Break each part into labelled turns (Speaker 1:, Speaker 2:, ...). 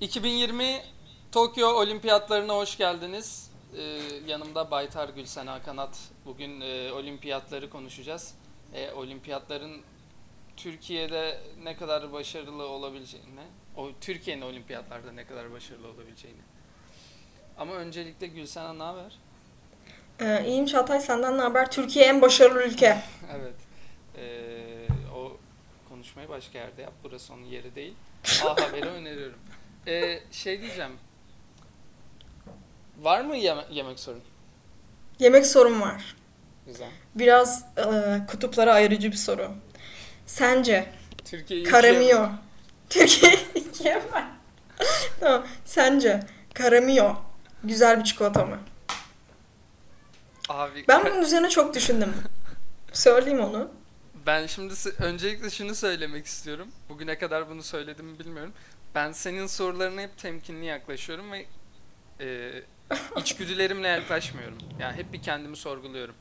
Speaker 1: 2020 Tokyo Olimpiyatlarına hoş geldiniz. Ee, yanımda Baytar Gülsen Hakanat. Bugün e, olimpiyatları konuşacağız. E, olimpiyatların Türkiye'de ne kadar başarılı olabileceğini, o Türkiye'nin olimpiyatlarda ne kadar başarılı olabileceğini. Ama öncelikle Gülsen'e ne haber?
Speaker 2: Ee, iyiyim Çağatay senden ne haber? Türkiye en başarılı ülke.
Speaker 1: evet. Ee, o konuşmayı başka yerde yap. Burası onun yeri değil. A Haber'i öneriyorum. Ee, şey diyeceğim. Var mı yeme- yemek sorun?
Speaker 2: Yemek sorun var.
Speaker 1: Güzel.
Speaker 2: Biraz e, kutuplara ayrıcı bir soru. Sence
Speaker 1: Türkiye'yi ikiye-
Speaker 2: Karamio Türkiye ikiye var. tamam. Sence Karamio güzel bir çikolata mı?
Speaker 1: Abi
Speaker 2: Ben
Speaker 1: ka-
Speaker 2: bunun üzerine çok düşündüm. Söyleyeyim onu.
Speaker 1: ben şimdi s- öncelikle şunu söylemek istiyorum. Bugüne kadar bunu söyledim mi bilmiyorum. Ben senin sorularına hep temkinli yaklaşıyorum ve e, içgüdülerimle yaklaşmıyorum. Yani hep bir kendimi sorguluyorum.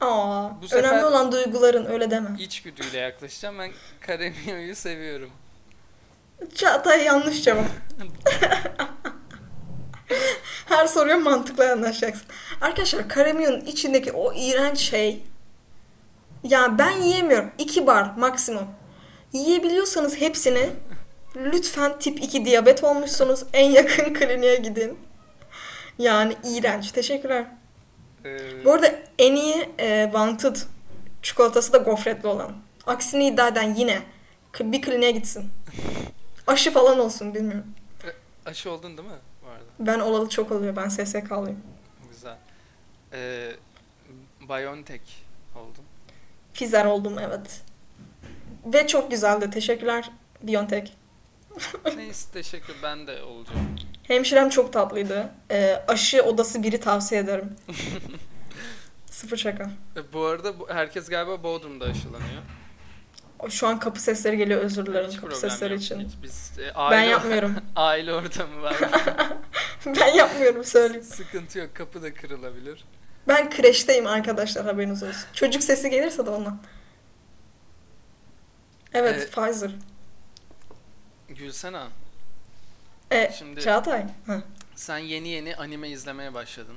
Speaker 2: Aa,
Speaker 1: Bu sefer-
Speaker 2: önemli olan duyguların öyle deme.
Speaker 1: İçgüdüyle yaklaşacağım. Ben Karamio'yu seviyorum.
Speaker 2: Çağatay yanlış cevap. Her soruya mantıklı anlaşacaksın. Arkadaşlar karamiyonun içindeki o iğrenç şey ya ben yiyemiyorum. 2 bar maksimum. Yiyebiliyorsanız hepsini lütfen tip 2 diyabet olmuşsunuz. En yakın kliniğe gidin. Yani iğrenç. Teşekkürler.
Speaker 1: Ee,
Speaker 2: Bu arada en iyi e, wanted çikolatası da gofretli olan. Aksini iddia eden yine k- bir kliniğe gitsin. Aşı falan olsun bilmiyorum.
Speaker 1: aşı oldun değil mi bu arada?
Speaker 2: Ben olalı çok oluyor. Ben SSK'lıyım.
Speaker 1: Güzel. Ee, Biontech oldum.
Speaker 2: Fizer oldum evet. Ve çok güzeldi. Teşekkürler Biontech.
Speaker 1: Neyse teşekkür ben de olacağım.
Speaker 2: Hemşirem çok tatlıydı. E, aşı odası biri tavsiye ederim. Sıfır şaka.
Speaker 1: E, bu arada bu, herkes galiba Bodrum'da aşılanıyor.
Speaker 2: Şu an kapı sesleri geliyor. Özür dilerim
Speaker 1: Hiç
Speaker 2: kapı
Speaker 1: problem
Speaker 2: sesleri
Speaker 1: yok.
Speaker 2: için.
Speaker 1: Hiç biz e,
Speaker 2: Ben
Speaker 1: aile,
Speaker 2: yapmıyorum.
Speaker 1: aile ortamı var.
Speaker 2: ben yapmıyorum söyleyeyim.
Speaker 1: Sıkıntı yok. Kapı da kırılabilir.
Speaker 2: Ben kreşteyim arkadaşlar haberiniz olsun. Çocuk sesi gelirse de ondan. Evet,
Speaker 1: Evet.
Speaker 2: Pfizer.
Speaker 1: Gülsena
Speaker 2: E,
Speaker 1: Şimdi-
Speaker 2: Çağatay. Hı.
Speaker 1: sen yeni yeni anime izlemeye başladın.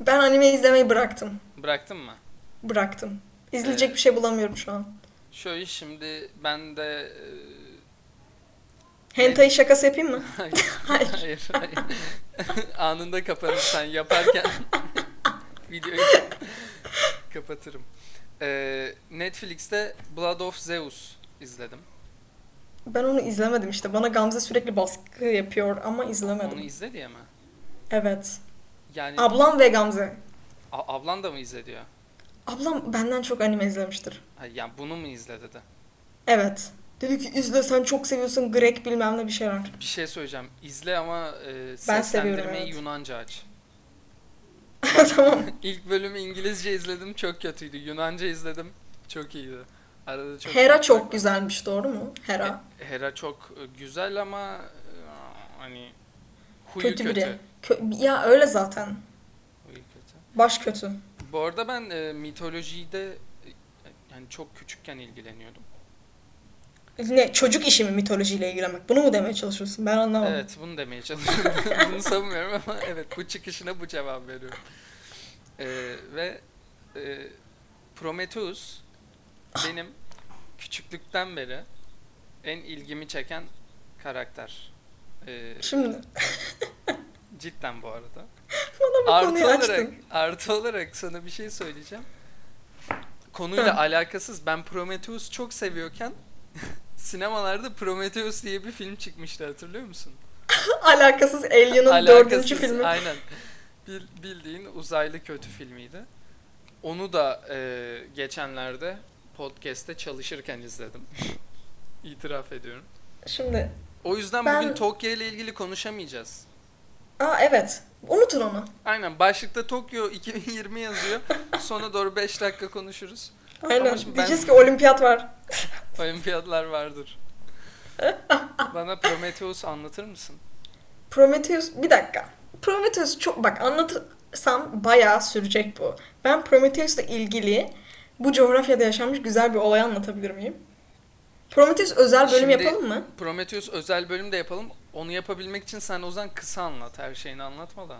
Speaker 2: Ben anime izlemeyi bıraktım.
Speaker 1: Bıraktın mı?
Speaker 2: Bıraktım. İzleyecek
Speaker 1: Evet.
Speaker 2: bir şey bulamıyorum şu an.
Speaker 1: Şöyle şimdi ben de... e,
Speaker 2: Hentai şakası yapayım mı?
Speaker 1: Hayır.
Speaker 2: Hayır.
Speaker 1: hayır, hayır. Anında kaparım sen yaparken videoyu kapatırım. Ee, Netflix'te Blood of Zeus izledim.
Speaker 2: Ben onu izlemedim işte. Bana Gamze sürekli baskı yapıyor ama izlemedim.
Speaker 1: Onu izle diye mi?
Speaker 2: Evet.
Speaker 1: Yani
Speaker 2: Ablam ve Gamze.
Speaker 1: a- ablan da mı izle diyor?
Speaker 2: Ablam benden çok anime izlemiştir.
Speaker 1: Ha, Yani bunu mu izle dedi.
Speaker 2: Evet. Dedi ki izle sen çok seviyorsun Grek bilmem ne bir şeyler.
Speaker 1: Bir şey söyleyeceğim. İzle ama e,
Speaker 2: Ben
Speaker 1: seslendirmeyi
Speaker 2: seviyorum, evet.
Speaker 1: Yunanca aç.
Speaker 2: tamam.
Speaker 1: İlk bölümü İngilizce izledim çok kötüydü. Yunanca izledim çok iyiydi. Arada çok
Speaker 2: Hera çok güzelmiş doğru mu? Hera.
Speaker 1: Hera çok e, güzel ama e, hani huyu
Speaker 2: kötü
Speaker 1: kötü.
Speaker 2: biri. Kö- ya öyle zaten.
Speaker 1: Huyu kötü.
Speaker 2: Baş kötü.
Speaker 1: Bu arada ben e, mitolojide e, yani çok küçükken ilgileniyordum.
Speaker 2: Ne çocuk işi mi mitolojiyle ilgilenmek? Bunu mu demeye çalışıyorsun? Ben anlamadım.
Speaker 1: Evet bunu demeye çalışıyorum. bunu savunmuyorum ama evet bu çıkışına bu cevap veriyorum. E, ve e, Prometheus
Speaker 2: Ah.
Speaker 1: benim küçüklükten beri en ilgimi çeken karakter. E,
Speaker 2: Şimdi
Speaker 1: cidden bu arada.
Speaker 2: bana bu
Speaker 1: artı
Speaker 2: konuyu
Speaker 1: olarak,
Speaker 2: açtın.
Speaker 1: artı olarak sana bir şey söyleyeceğim. Konuyla
Speaker 2: Hı.
Speaker 1: alakasız. Ben Prometheus çok seviyorken sinemalarda Prometheus diye bir film çıkmıştı hatırlıyor musun?
Speaker 2: Alakasız Alien'ın dördüncü filmi.
Speaker 1: Aynen. Bil- bildiğin uzaylı kötü filmiydi. Onu da e, geçenlerde podcast'te çalışırken izledim. İtiraf ediyorum.
Speaker 2: Şimdi
Speaker 1: O yüzden
Speaker 2: Ben-
Speaker 1: bugün Tokyo ile ilgili konuşamayacağız.
Speaker 2: aa evet. Unutun onu.
Speaker 1: Aynen başlıkta Tokyo 2020 yazıyor. Sona doğru 5 dakika konuşuruz.
Speaker 2: Aynen.
Speaker 1: şimdi ben-
Speaker 2: Diyeceğiz ki olimpiyat var.
Speaker 1: Olimpiyatlar vardır. Bana Prometheus anlatır mısın?
Speaker 2: Prometheus bir dakika. Prometheus çok bak anlatırsam bayağı sürecek bu. Ben Prometheus'la ilgili bu coğrafyada yaşanmış güzel bir olay anlatabilir miyim? Prometheus özel bölüm
Speaker 1: Şimdi-
Speaker 2: yapalım mı?
Speaker 1: Prometheus özel bölüm de yapalım. Onu yapabilmek için sen Ozan kısa anlat. Her şeyini anlatma da.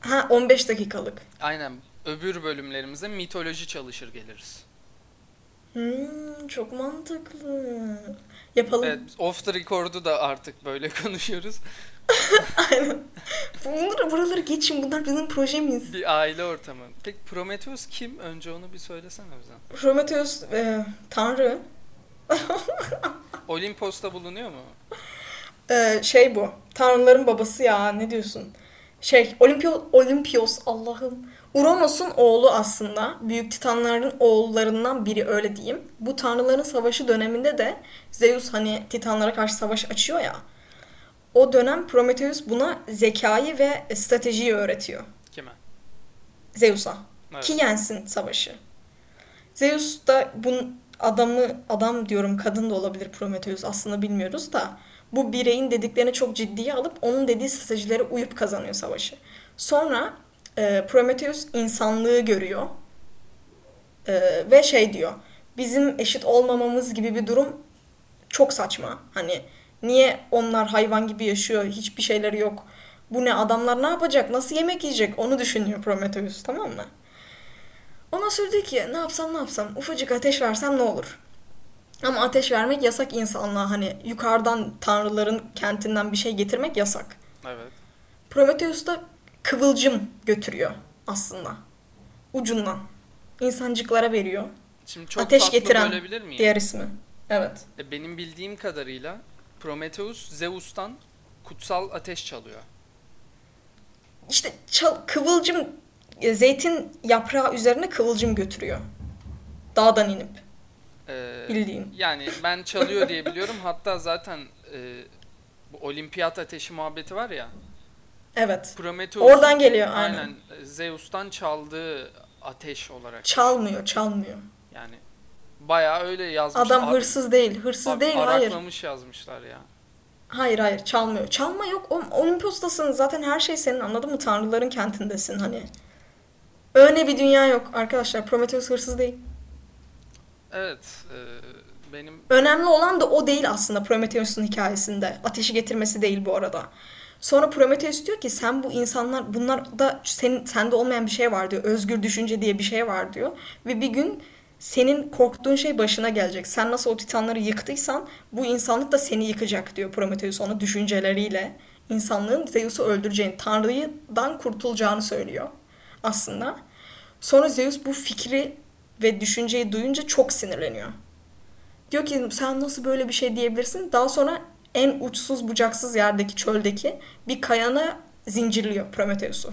Speaker 2: Ha 15 dakikalık.
Speaker 1: Aynen. Öbür bölümlerimizde mitoloji çalışır geliriz.
Speaker 2: Hmm, çok mantıklı. Yapalım.
Speaker 1: Evet, off the record'u da artık böyle konuşuyoruz.
Speaker 2: Aynen. Bunları buraları geçin. Bunlar bizim projemiz.
Speaker 1: Bir aile ortamı. Peki Prometheus kim? Önce onu bir söylesene bize.
Speaker 2: Prometheus e, tanrı.
Speaker 1: Olimpos'ta bulunuyor mu?
Speaker 2: E, şey bu. Tanrıların babası ya. Ne diyorsun? Şey Olimpios, Olimpios Allah'ım. Uranos'un oğlu aslında. Büyük Titanların oğullarından biri öyle diyeyim. Bu tanrıların savaşı döneminde de Zeus hani Titanlara karşı savaş açıyor ya. O dönem Prometheus buna zekayı ve stratejiyi öğretiyor.
Speaker 1: Kime?
Speaker 2: Zeus'a.
Speaker 1: Evet.
Speaker 2: Ki yensin savaşı. Zeus da bunun adamı, adam diyorum kadın da olabilir Prometheus aslında bilmiyoruz da bu bireyin dediklerini çok ciddiye alıp onun dediği stratejilere uyup kazanıyor savaşı. Sonra e, Prometheus insanlığı görüyor E, ve şey diyor bizim eşit olmamamız gibi bir durum çok saçma. Hani niye onlar hayvan gibi yaşıyor hiçbir şeyleri yok bu ne adamlar ne yapacak nasıl yemek yiyecek onu düşünüyor Prometheus tamam mı? Ona sürdü ki ne yapsam ne yapsam ufacık ateş versem ne olur? Ama ateş vermek yasak insanlığa hani yukarıdan tanrıların kentinden bir şey getirmek yasak.
Speaker 1: Evet.
Speaker 2: Prometheus da kıvılcım götürüyor aslında ucundan. İnsancıklara veriyor
Speaker 1: Şimdi çok
Speaker 2: Ateş
Speaker 1: tatlı
Speaker 2: getiren
Speaker 1: bölebilir miyim?
Speaker 2: diğer ismi. Evet.
Speaker 1: E, Benim bildiğim kadarıyla Prometheus Zeus'tan kutsal ateş çalıyor.
Speaker 2: İşte çal, kıvılcım e, zeytin yaprağı üzerine kıvılcım götürüyor. Dağdan inip
Speaker 1: Ee,
Speaker 2: bildiğin.
Speaker 1: yani ben çalıyor diye biliyorum. Hatta zaten e, bu olimpiyat ateşi muhabbeti var ya.
Speaker 2: Evet.
Speaker 1: Prometheus
Speaker 2: Oradan geliyor aynen.
Speaker 1: aynen e, Zeus'tan çaldığı ateş olarak.
Speaker 2: Çalmıyor, çalmıyor.
Speaker 1: Yani bayağı öyle yazmış.
Speaker 2: Adam
Speaker 1: Ar-
Speaker 2: hırsız değil, hırsız
Speaker 1: ar-
Speaker 2: değil, hayır.
Speaker 1: Araklamış yazmışlar ya.
Speaker 2: Hayır hayır çalmıyor. Çalma yok. O- Olimpos'tasın. Zaten her şey senin anladın mı? Tanrıların kentindesin hani. Öyle bir dünya yok arkadaşlar. Prometheus hırsız değil.
Speaker 1: Evet. e, benim
Speaker 2: Önemli olan da o değil aslında Prometheus'un hikayesinde. Ateşi getirmesi değil bu arada. Sonra Prometheus diyor ki sen bu insanlar bunlar da senin sende olmayan bir şey var diyor. Özgür düşünce diye bir şey var diyor. Ve bir gün senin korktuğun şey başına gelecek. Sen nasıl o titanları yıktıysan bu insanlık da seni yıkacak diyor Prometheus ona düşünceleriyle. İnsanlığın Zeus'u öldüreceğini, Tanrı'dan kurtulacağını söylüyor aslında. Sonra Zeus bu fikri ve düşünceyi duyunca çok sinirleniyor. Diyor ki sen nasıl böyle bir şey diyebilirsin? Daha sonra en uçsuz bucaksız yerdeki çöldeki bir kayana zincirliyor Prometheus'u.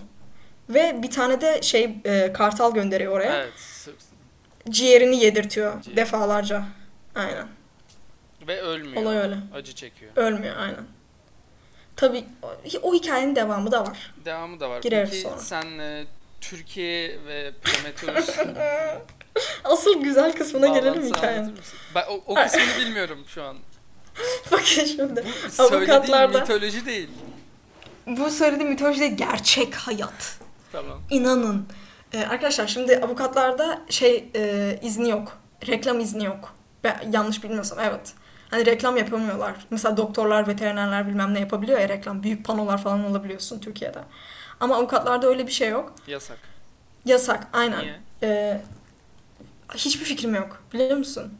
Speaker 2: Ve bir tane de şey e, kartal gönderiyor oraya.
Speaker 1: evet. s-
Speaker 2: Ciğerini yedirtiyor
Speaker 1: Ciğer.
Speaker 2: defalarca. Aynen.
Speaker 1: Ve ölmüyor.
Speaker 2: Olay öyle.
Speaker 1: Acı çekiyor.
Speaker 2: Ölmüyor aynen. Tabii o- o hikayenin devamı da var.
Speaker 1: Devamı da var.
Speaker 2: Gireriz
Speaker 1: Peki
Speaker 2: sonra.
Speaker 1: sen e, Türkiye ve Prometheus
Speaker 2: Asıl güzel kısmına gelelim
Speaker 1: bağlantısı
Speaker 2: hikayenin.
Speaker 1: anlatır mısın? Ben o, o kısmını bilmiyorum şu an.
Speaker 2: Bakın şimdi.
Speaker 1: Söylediğim
Speaker 2: Avukatlarda.
Speaker 1: mitoloji değil.
Speaker 2: Bu söylediğim mitolojide gerçek hayat.
Speaker 1: Tamam.
Speaker 2: İnanın. Ee, arkadaşlar şimdi avukatlarda şey e, izni yok. Reklam izni yok. Ben yanlış bilmiyorsam evet. Hani reklam yapamıyorlar. Mesela doktorlar, veterinerler bilmem ne yapabiliyor ya reklam. Büyük panolar falan olabiliyorsun Türkiye'de. Ama avukatlarda öyle bir şey yok.
Speaker 1: Yasak.
Speaker 2: Yasak aynen.
Speaker 1: Niye?
Speaker 2: Ee, hiçbir fikrim yok biliyor musun?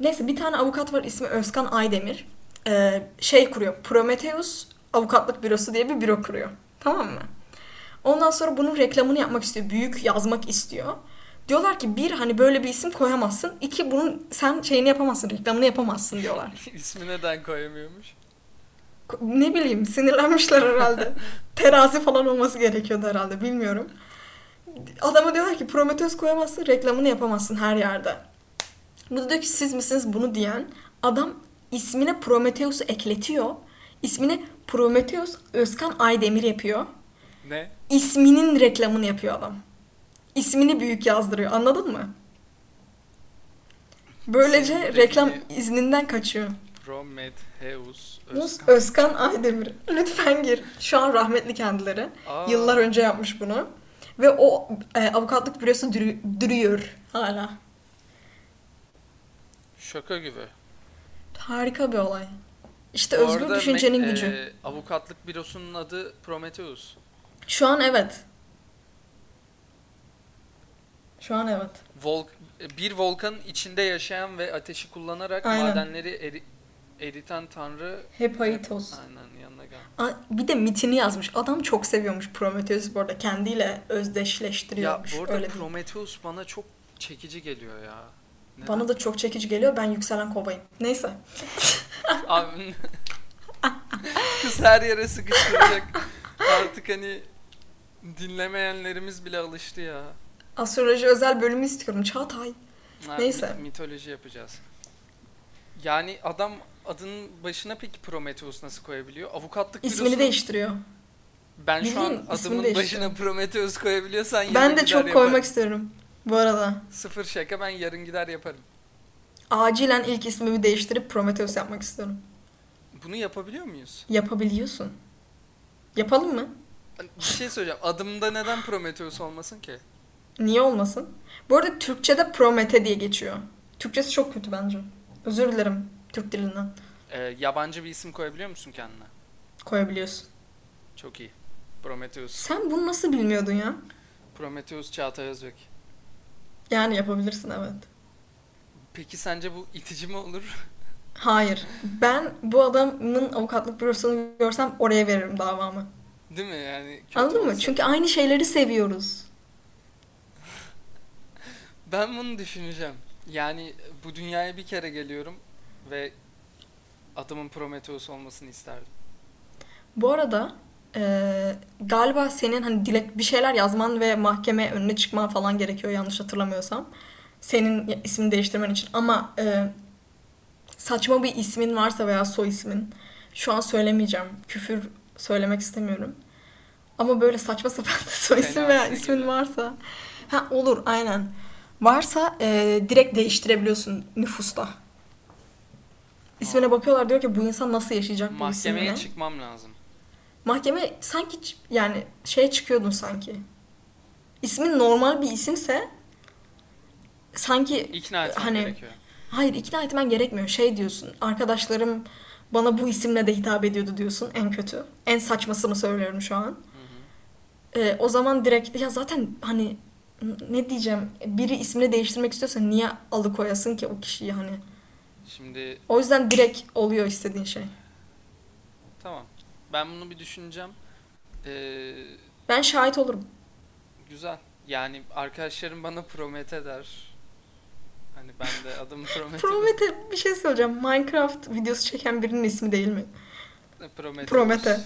Speaker 2: Neyse bir tane avukat var ismi Özkan Aydemir. Ee, şey kuruyor Prometheus Avukatlık Bürosu diye bir büro kuruyor. Tamam mı? Ondan sonra bunun reklamını yapmak istiyor. Büyük yazmak istiyor. Diyorlar ki bir hani böyle bir isim koyamazsın. iki bunun sen şeyini yapamazsın reklamını yapamazsın diyorlar.
Speaker 1: İsmi neden koyamıyormuş?
Speaker 2: Ko- Ne bileyim sinirlenmişler herhalde. Terazi falan olması gerekiyordu herhalde bilmiyorum. Adama diyorlar ki Prometheus koyamazsın reklamını yapamazsın her yerde. Bu da diyor ki siz misiniz bunu diyen adam ismine Prometheus'u ekletiyor. İsmini Prometheus Özkan Aydemir yapıyor.
Speaker 1: Ne?
Speaker 2: İsminin reklamını yapıyor adam. İsmini büyük yazdırıyor anladın mı? Böylece
Speaker 1: Senin
Speaker 2: reklam
Speaker 1: dediğini-
Speaker 2: izninden kaçıyor.
Speaker 1: Prometheus
Speaker 2: Özkan.
Speaker 1: Özkan.
Speaker 2: Aydemir. Lütfen gir. Şu an rahmetli kendileri.
Speaker 1: Aa,
Speaker 2: Yıllar önce yapmış bunu. Ve o e, avukatlık bürosu dürü- duruyor hala.
Speaker 1: Şaka gibi.
Speaker 2: Harika bir olay. İşte
Speaker 1: Bu
Speaker 2: özgür
Speaker 1: arada
Speaker 2: düşüncenin
Speaker 1: me-
Speaker 2: gücü.
Speaker 1: e, avukatlık bürosunun adı Prometheus.
Speaker 2: Şu an evet. Şu an evet.
Speaker 1: Volk, e, bir volkanın içinde yaşayan ve ateşi kullanarak
Speaker 2: Aynen.
Speaker 1: madenleri eri- eriten tanrı
Speaker 2: Hepaitos.
Speaker 1: Aynen yanına gel.
Speaker 2: A- Bir de mitini yazmış. Adam çok seviyormuş Prometheus'u bu arada. Kendiyle
Speaker 1: Ya
Speaker 2: özdeşleştiriyormuş.
Speaker 1: bu arada
Speaker 2: Öyle şey. değil.
Speaker 1: Prometheus bana çok çekici geliyor ya. Neden?
Speaker 2: Bana da çok çekici geliyor. Ben yükselen kovayım. Neyse.
Speaker 1: Abi- Kız her yere sıkıştıracak. Artık hani dinlemeyenlerimiz bile alıştı ya.
Speaker 2: Astroloji özel bölümü istiyorum. Çağatay.
Speaker 1: Ha,
Speaker 2: Neyse.
Speaker 1: mi- mitoloji yapacağız. Yani adam adının başına peki Prometheus nasıl koyabiliyor? Avukatlık
Speaker 2: İsmini
Speaker 1: bürosu-
Speaker 2: değiştiriyor.
Speaker 1: Ben şu an
Speaker 2: Bildiğin ismini
Speaker 1: adımın
Speaker 2: değiştirdim.
Speaker 1: başına Prometheus koyabiliyorsan yarın
Speaker 2: Ben de
Speaker 1: gider
Speaker 2: çok
Speaker 1: yaparım.
Speaker 2: koymak istiyorum. Bu arada.
Speaker 1: Sıfır şaka ben yarın gider yaparım.
Speaker 2: Acilen ilk ismimi değiştirip Prometheus yapmak istiyorum.
Speaker 1: Bunu yapabiliyor muyuz?
Speaker 2: Yapabiliyorsun. Yapalım mı?
Speaker 1: Bir şey söyleyeceğim. Adımda neden Prometheus olmasın ki?
Speaker 2: Niye olmasın? Bu arada Türkçe'de Promete diye geçiyor. Türkçesi çok kötü bence. Özür dilerim Türk dilinden.
Speaker 1: Ee, yabancı bir isim koyabiliyor musun kendine?
Speaker 2: Koyabiliyorsun.
Speaker 1: Çok iyi. Prometheus.
Speaker 2: Sen bunu nasıl bilmiyordun ya?
Speaker 1: Prometheus Çağatay Özbek.
Speaker 2: Yani yapabilirsin evet.
Speaker 1: Peki sence bu itici mi olur?
Speaker 2: Hayır. Ben bu adamın avukatlık bürosunu görsem oraya veririm davamı.
Speaker 1: Değil mi yani? kötü
Speaker 2: Anladın mı?
Speaker 1: olsa.
Speaker 2: Çünkü aynı şeyleri seviyoruz.
Speaker 1: Ben bunu düşüneceğim. Yani bu dünyaya bir kere geliyorum ve adımın Prometheus olmasını isterdim.
Speaker 2: Bu arada eee, galiba senin hani dilek bir şeyler yazman ve mahkeme önüne çıkman falan gerekiyor yanlış hatırlamıyorsam. Senin ismini değiştirmen için ama eee, saçma bir ismin varsa veya soy ismin şu an söylemeyeceğim. Küfür söylemek istemiyorum. Ama böyle saçma sapan da soy isim veya
Speaker 1: Fenasi
Speaker 2: ismin
Speaker 1: gibi.
Speaker 2: varsa ha olur aynen. Varsa eee, direkt değiştirebiliyorsun nüfusta. İsmine bakıyorlar diyor ki bu insan nasıl yaşayacak bu isimle.
Speaker 1: Mahkemeye çıkmam lazım.
Speaker 2: Mahkeme sanki ç- yani şeye çıkıyordun sanki. İsmin normal bir isimse sanki
Speaker 1: İkna etmem
Speaker 2: Hani-
Speaker 1: gerekiyor.
Speaker 2: hayır ikna etmen gerekmiyor. Şey diyorsun. Arkadaşlarım bana bu isimle de hitap ediyordu diyorsun en kötü. En saçmasını söylüyorum şu an.
Speaker 1: Hı hı.
Speaker 2: Ee, o zaman direkt ya zaten hani n- ne diyeceğim biri ismini değiştirmek istiyorsa niye alıkoyasın ki o kişiyi hani.
Speaker 1: Şimdi
Speaker 2: O yüzden direkt oluyor istediğin şey.
Speaker 1: Tamam. Ben bunu bir düşüneceğim. Ee,
Speaker 2: Ben şahit olurum.
Speaker 1: güzel. Yani arkadaşlarım bana Promete der. Hani ben de adım Promete.
Speaker 2: Promete bir şey söyleyeceğim. Minecraft videosu çeken birinin ismi değil mi?
Speaker 1: Promete.
Speaker 2: Promete.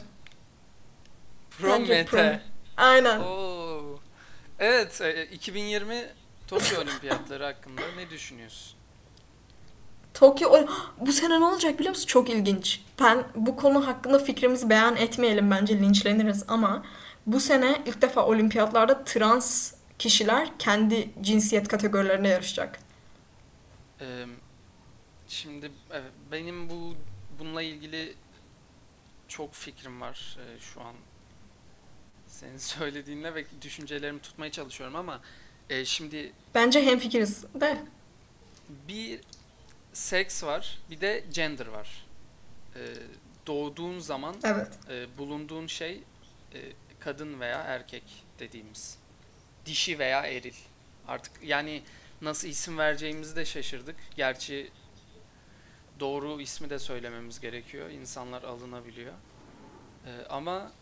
Speaker 2: Bence
Speaker 1: Promete.
Speaker 2: Aynen.
Speaker 1: Oo. Evet, e, 2020 Tokyo Olimpiyatları hakkında ne düşünüyorsun?
Speaker 2: Tokyo Ol- bu sene ne olacak biliyor musun? Çok ilginç. Ben bu konu hakkında fikrimizi beyan etmeyelim bence linçleniriz ama bu sene ilk defa olimpiyatlarda trans kişiler kendi cinsiyet kategorilerine yarışacak.
Speaker 1: Ee, şimdi e, benim bu bununla ilgili çok fikrim var e, şu an. Senin söylediğinle ve düşüncelerimi tutmaya çalışıyorum ama e, şimdi
Speaker 2: Bence hemfikiriz de.
Speaker 1: bir seks var, bir de gender var. Ee, doğduğun zaman
Speaker 2: Evet.
Speaker 1: e, bulunduğun şey e, kadın veya erkek dediğimiz. Dişi veya eril. Artık yani nasıl isim vereceğimizi de şaşırdık. Gerçi doğru ismi de söylememiz gerekiyor. İnsanlar alınabiliyor. Ee, ama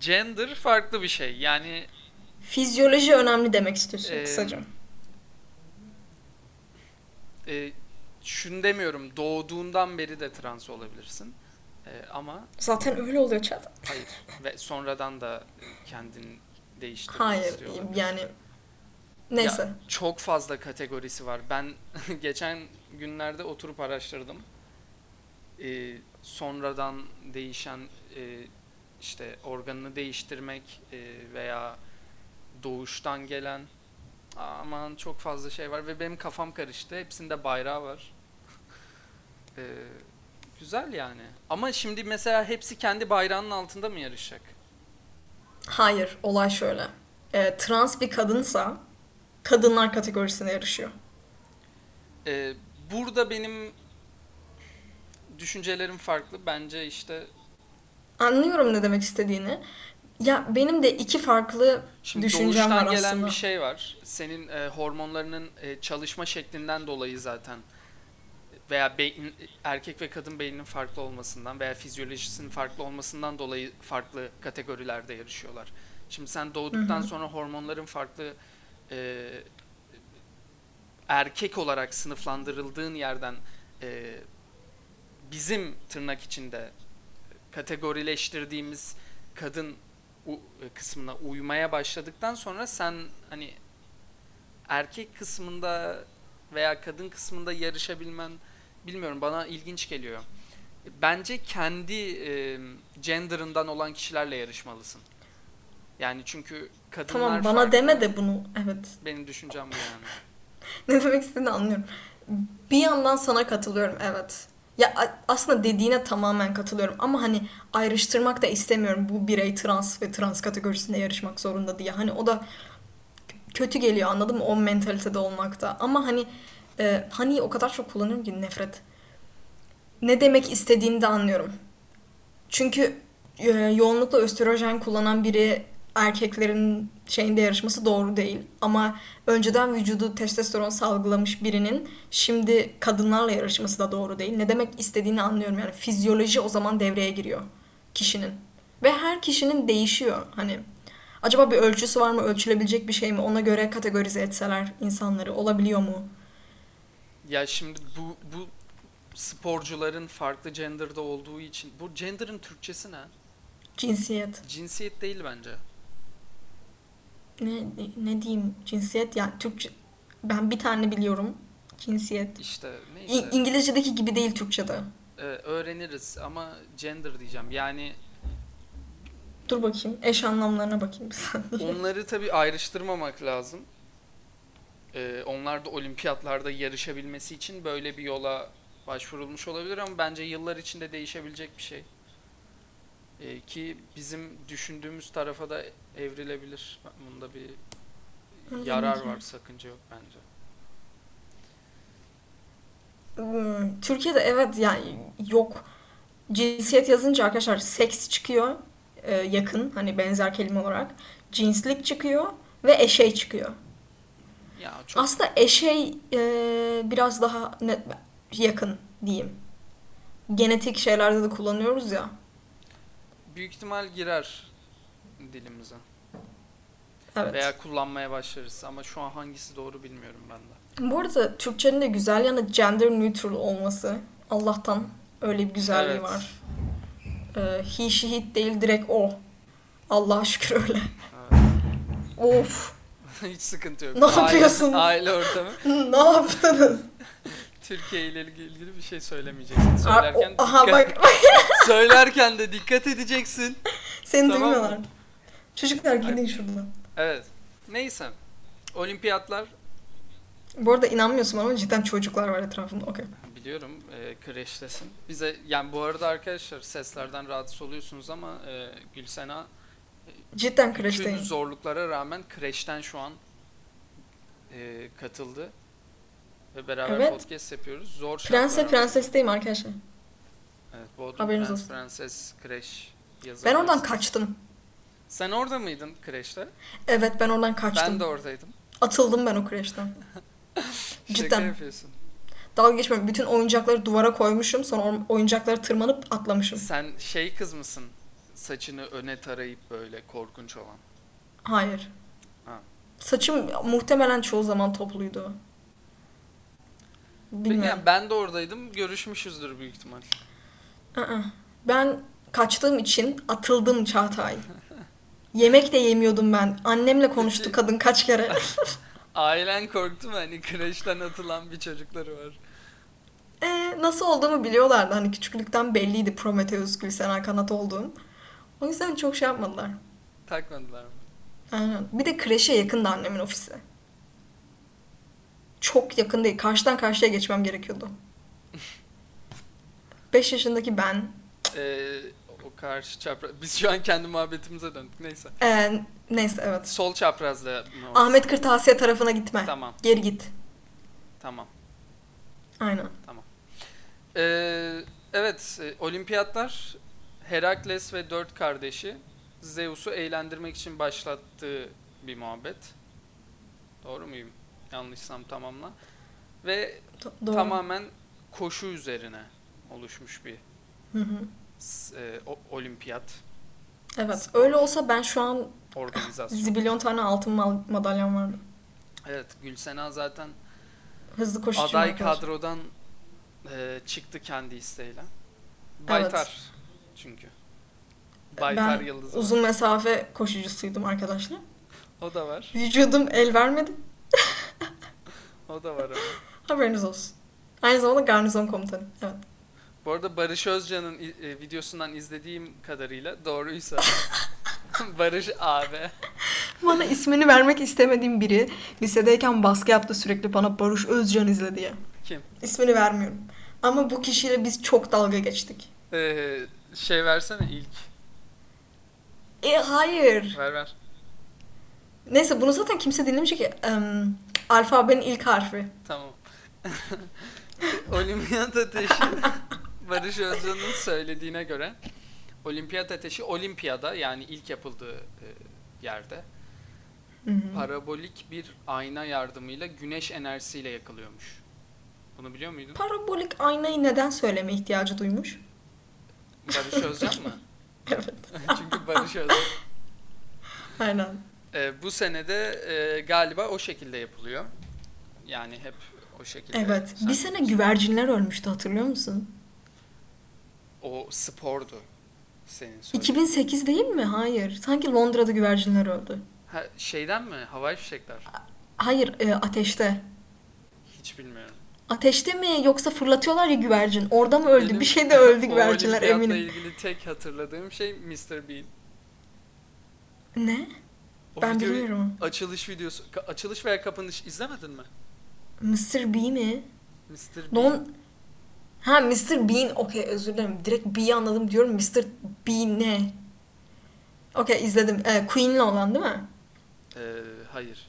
Speaker 1: gender farklı bir şey. Yani
Speaker 2: Fizyoloji önemli demek istiyorsun
Speaker 1: Ee,
Speaker 2: kısaca.
Speaker 1: e, şunu demiyorum doğduğundan beri de trans olabilirsin E, ama
Speaker 2: Zaten öyle oluyor çat.
Speaker 1: hayır ve sonradan da kendini değiştirmek
Speaker 2: Hayır
Speaker 1: istiyor olabilirsin.
Speaker 2: yani neyse.
Speaker 1: Çok fazla kategorisi var. Ben geçen günlerde oturup araştırdım. E, sonradan değişen e, işte organını değiştirmek e, veya doğuştan gelen aman çok fazla şey var ve benim kafam karıştı. Hepsinde bayrağı var. E, güzel yani. Ama şimdi mesela hepsi kendi bayrağının altında mı yarışacak?
Speaker 2: Hayır, olay şöyle. Ee, trans bir kadınsa kadınlar kategorisine yarışıyor.
Speaker 1: E, Burada benim düşüncelerim farklı. Bence işte
Speaker 2: Anlıyorum ne demek istediğini. Ya benim de iki farklı
Speaker 1: Şimdi
Speaker 2: düşüncem var
Speaker 1: doğuştan
Speaker 2: aslında.
Speaker 1: gelen bir şey var. Senin e, hormonlarının e, çalışma şeklinden dolayı zaten veya beyin, erkek ve kadın beyninin farklı olmasından veya fizyolojisinin farklı olmasından dolayı farklı kategorilerde yarışıyorlar. Şimdi sen doğduktan sonra hormonların farklı e, erkek olarak sınıflandırıldığın yerden e, bizim tırnak içinde kategorileştirdiğimiz kadın u- e, kısmına uymaya başladıktan sonra sen hani erkek kısmında veya kadın kısmında yarışabilmen bilmiyorum bana ilginç geliyor. Bence kendi e, gender'ından olan kişilerle yarışmalısın. Yani çünkü kadınlar
Speaker 2: Tamam bana
Speaker 1: farklı.
Speaker 2: deme de bunu. Evet.
Speaker 1: Benim düşüncem bu yani.
Speaker 2: Ne demek istediğini anlıyorum. Bir yandan sana katılıyorum evet. Ya a- aslında dediğine tamamen katılıyorum ama hani ayrıştırmak da istemiyorum bu birey trans ve trans kategorisinde yarışmak zorunda diye. Hani o da k- kötü geliyor anladın mı o mentalitede olmakta. Ama hani e, hani o kadar çok kullanıyorum ki nefret. Ne demek istediğini de anlıyorum. Çünkü e, yoğunlukla östrojen kullanan biri erkeklerin şeyinde yarışması doğru değil. Ama önceden vücudu testosteron salgılamış birinin şimdi kadınlarla yarışması da doğru değil. Ne demek istediğini anlıyorum yani fizyoloji o zaman devreye giriyor kişinin. Ve her kişinin değişiyor hani. Acaba bir ölçüsü var mı? Ölçülebilecek bir şey mi? Ona göre kategorize etseler insanları olabiliyor mu?
Speaker 1: Ya şimdi bu bu sporcuların farklı gender'da olduğu için bu gender'ın Türkçesi ne?
Speaker 2: Cinsiyet.
Speaker 1: Cinsiyet değil bence.
Speaker 2: Ne ne diyeyim? Cinsiyet yani Türkçe ben bir tane biliyorum. Cinsiyet.
Speaker 1: İşte neyse.
Speaker 2: İ- İngilizce'deki gibi değil Türkçe'de.
Speaker 1: Ee, öğreniriz ama gender diyeceğim. Yani
Speaker 2: Dur bakayım. Eş anlamlarına bakayım bir saniye.
Speaker 1: onları tabii ayrıştırmamak lazım. Ee, onlar da olimpiyatlarda yarışabilmesi için böyle bir yola başvurulmuş olabilir ama bence yıllar içinde değişebilecek bir şey. Ee, ki bizim düşündüğümüz tarafa da evrilebilir. Bunda bir
Speaker 2: Onu
Speaker 1: yarar
Speaker 2: deneyeceğim.
Speaker 1: var, sakınca yok bence.
Speaker 2: Hmm, Türkiye'de evet yani yok. Cinsiyet yazınca arkadaşlar seks çıkıyor. e, yakın hani benzer kelime olarak. Cinslik çıkıyor ve eşey çıkıyor.
Speaker 1: Ya çok
Speaker 2: Aslında eşey e, biraz daha net, yakın diyeyim. Genetik şeylerde de kullanıyoruz ya.
Speaker 1: büyük ihtimal girer dilimize.
Speaker 2: Evet.
Speaker 1: Veya kullanmaya başlarız ama şu an hangisi doğru bilmiyorum ben de.
Speaker 2: Bu arada Türkçenin de güzel yanı gender neutral olması. Allah'tan öyle bir güzelliği
Speaker 1: Evet.
Speaker 2: var. Ee, he she it değil direkt o. Allah'a şükür öyle.
Speaker 1: Evet.
Speaker 2: Of
Speaker 1: Hiç sıkıntı yok.
Speaker 2: Ne yapıyorsun?
Speaker 1: Aile ortamı.
Speaker 2: ne yaptınız?
Speaker 1: Türkiye ile ilgili bir şey söylemeyeceksin.
Speaker 2: Aa,
Speaker 1: Söylerken
Speaker 2: o- aha
Speaker 1: dikkat,
Speaker 2: bak
Speaker 1: söylerken de dikkat edeceksin.
Speaker 2: seni
Speaker 1: Tamam.
Speaker 2: duymuyorlar. Çocuklar gidin şuradan.
Speaker 1: Evet. Neyse. Olimpiyatlar
Speaker 2: Bu arada inanmıyorsun ama cidden çocuklar var etrafında. Okey.
Speaker 1: biliyorum e, kreştesin. Bize yani bu arada arkadaşlar seslerden rahatsız oluyorsunuz ama e, Gülsena
Speaker 2: Cidden
Speaker 1: bütün
Speaker 2: kreşteyim.
Speaker 1: zorluklara rağmen kreşten şu an e, katıldı. Ve beraber
Speaker 2: Evet.
Speaker 1: podcast yapıyoruz. Zor
Speaker 2: Prense
Speaker 1: şartlar
Speaker 2: prensesteyim arkadaşlar.
Speaker 1: ama- Evet, Bodrum
Speaker 2: Haberiniz
Speaker 1: Prens,
Speaker 2: olsun.
Speaker 1: Prenses Kreş yazarı.
Speaker 2: Ben oradan kaçtım.
Speaker 1: Sen orada mıydın kreşte?
Speaker 2: Evet ben oradan
Speaker 1: Ben
Speaker 2: kaçtım.
Speaker 1: de oradaydım.
Speaker 2: Atıldım ben o kreşten.
Speaker 1: Şaka
Speaker 2: Cidden.
Speaker 1: yapıyorsun.
Speaker 2: Dalga geçmiyorum. Bütün oyuncakları duvara koymuşum. Sonra o- oyuncakları tırmanıp atlamışım.
Speaker 1: Sen şey kız mısın? Saçını öne tarayıp böyle korkunç olan.
Speaker 2: Hayır.
Speaker 1: Ha.
Speaker 2: Saçım muhtemelen çoğu zaman topluydu. Bilmiyorum.
Speaker 1: Yani ben de oradaydım. Görüşmüşüzdür büyük ihtimal.
Speaker 2: Aa, Ben kaçtığım için atıldım Çağatay. Yemek de yemiyordum ben. Annemle konuştu
Speaker 1: Peki.
Speaker 2: kadın kaç kere.
Speaker 1: Ailen korktu mu? Hani kreşten atılan bir çocukları var.
Speaker 2: Ee, nasıl olduğumu biliyorlardı. Hani küçüklükten belliydi Prometheus Gülsena Kanat olduğum. O yüzden çok şey yapmadılar.
Speaker 1: Takmadılar mı?
Speaker 2: Aynen. Bir de kreşe yakındı annemin ofisi. Çok yakın değil. Karşıdan karşıya geçmem gerekiyordu. 5 yaşındaki ben
Speaker 1: Ee, o karşı çapraz. Biz şu an kendi muhabbetimize döndük. Neyse.
Speaker 2: Ee, neyse evet.
Speaker 1: Sol çaprazda mı?
Speaker 2: Ahmet Kırtasiye tarafına gitme.
Speaker 1: Tamam.
Speaker 2: Geri git.
Speaker 1: Tamam.
Speaker 2: Aynen.
Speaker 1: Ee, evet, e, olimpiyatlar Herakles ve dört kardeşi Zeus'u eğlendirmek için başlattığı bir muhabbet. Doğru muyum? Yanlışsam tamamla. Ve
Speaker 2: Do- doğru.
Speaker 1: tamamen koşu üzerine oluşmuş bir
Speaker 2: Hı hı.
Speaker 1: s- e, o- olimpiyat
Speaker 2: Evet. Öyle olsa ben şu an
Speaker 1: organizasyonu.
Speaker 2: zibilyon tane altın mal- madalyam vardı.
Speaker 1: Evet, Gülsena zaten
Speaker 2: Hızlı koşucu
Speaker 1: aday
Speaker 2: arkadaş.
Speaker 1: kadrodan e, çıktı kendi isteğiyle. Baytar çünkü. Baytar
Speaker 2: E, Ben
Speaker 1: Yıldız.
Speaker 2: uzun mesafe koşucusuydum arkadaşlar.
Speaker 1: O da var.
Speaker 2: Vücudum el vermedi.
Speaker 1: O da var ama.
Speaker 2: Haberiniz olsun. Aynı zamanda garnizon komutanı. Evet.
Speaker 1: Bu arada Barış Özcan'ın i- e, videosundan izlediğim kadarıyla doğruysa Barış abi.
Speaker 2: Bana ismini vermek istemediğim biri lisedeyken baskı yaptı sürekli bana Barış Özcan izle diye.
Speaker 1: Kim?
Speaker 2: İsmini vermiyorum. Ama bu kişiyle biz çok dalga geçtik.
Speaker 1: Ee, şey versene ilk.
Speaker 2: E hayır.
Speaker 1: Ver ver.
Speaker 2: Neyse bunu zaten kimse dinlemeyecek ki. Em, alfabenin ilk harfi.
Speaker 1: Tamam. Olimpiyat ateşi Barış Özcan'ın söylediğine göre Olimpiyat ateşi Olimpiyada yani ilk yapıldığı e, yerde
Speaker 2: Hı hı.
Speaker 1: parabolik bir ayna yardımıyla güneş enerjisiyle yakılıyormuş. Bunu biliyor muydun?
Speaker 2: Parabolik aynayı neden söyleme ihtiyacı duymuş?
Speaker 1: Barış Özcan mı?
Speaker 2: Evet.
Speaker 1: Çünkü Barış Özcan.
Speaker 2: Aynen.
Speaker 1: E, bu senede e, galiba o şekilde yapılıyor. Yani hep o şekilde.
Speaker 2: Evet.
Speaker 1: Sen-
Speaker 2: Bir sene güvercinler ölmüştü hatırlıyor musun?
Speaker 1: O spordu senin söylediğin.
Speaker 2: 2008 değil mi? Hayır. Sanki Londra'da güvercinler öldü.
Speaker 1: Ha, şeyden mi? Havai fişekler.
Speaker 2: Hayır, e, ateşte.
Speaker 1: Hiç bilmiyorum.
Speaker 2: Ateşte mi yoksa fırlatıyorlar ya güvercin. Orada mı öldü?
Speaker 1: Benim
Speaker 2: Bir şey de öldü
Speaker 1: o
Speaker 2: güvercinler
Speaker 1: olimpiyatla
Speaker 2: eminim.
Speaker 1: ilgili tek hatırladığım şey Mr. Bean.
Speaker 2: Ne?
Speaker 1: O
Speaker 2: Ben
Speaker 1: videoyu-
Speaker 2: bilmiyorum.
Speaker 1: Açılış videosu. ka- açılış veya kapanış izlemedin mi?
Speaker 2: Mr. Bee mi?
Speaker 1: Mr. Bean.
Speaker 2: Don... Ha Mr. Bean. Okey özür dilerim. Direkt B'yi anladım diyorum. Mr. Bean ne? Okey izledim. E, Queen'le olan değil mi?
Speaker 1: Ee, hayır.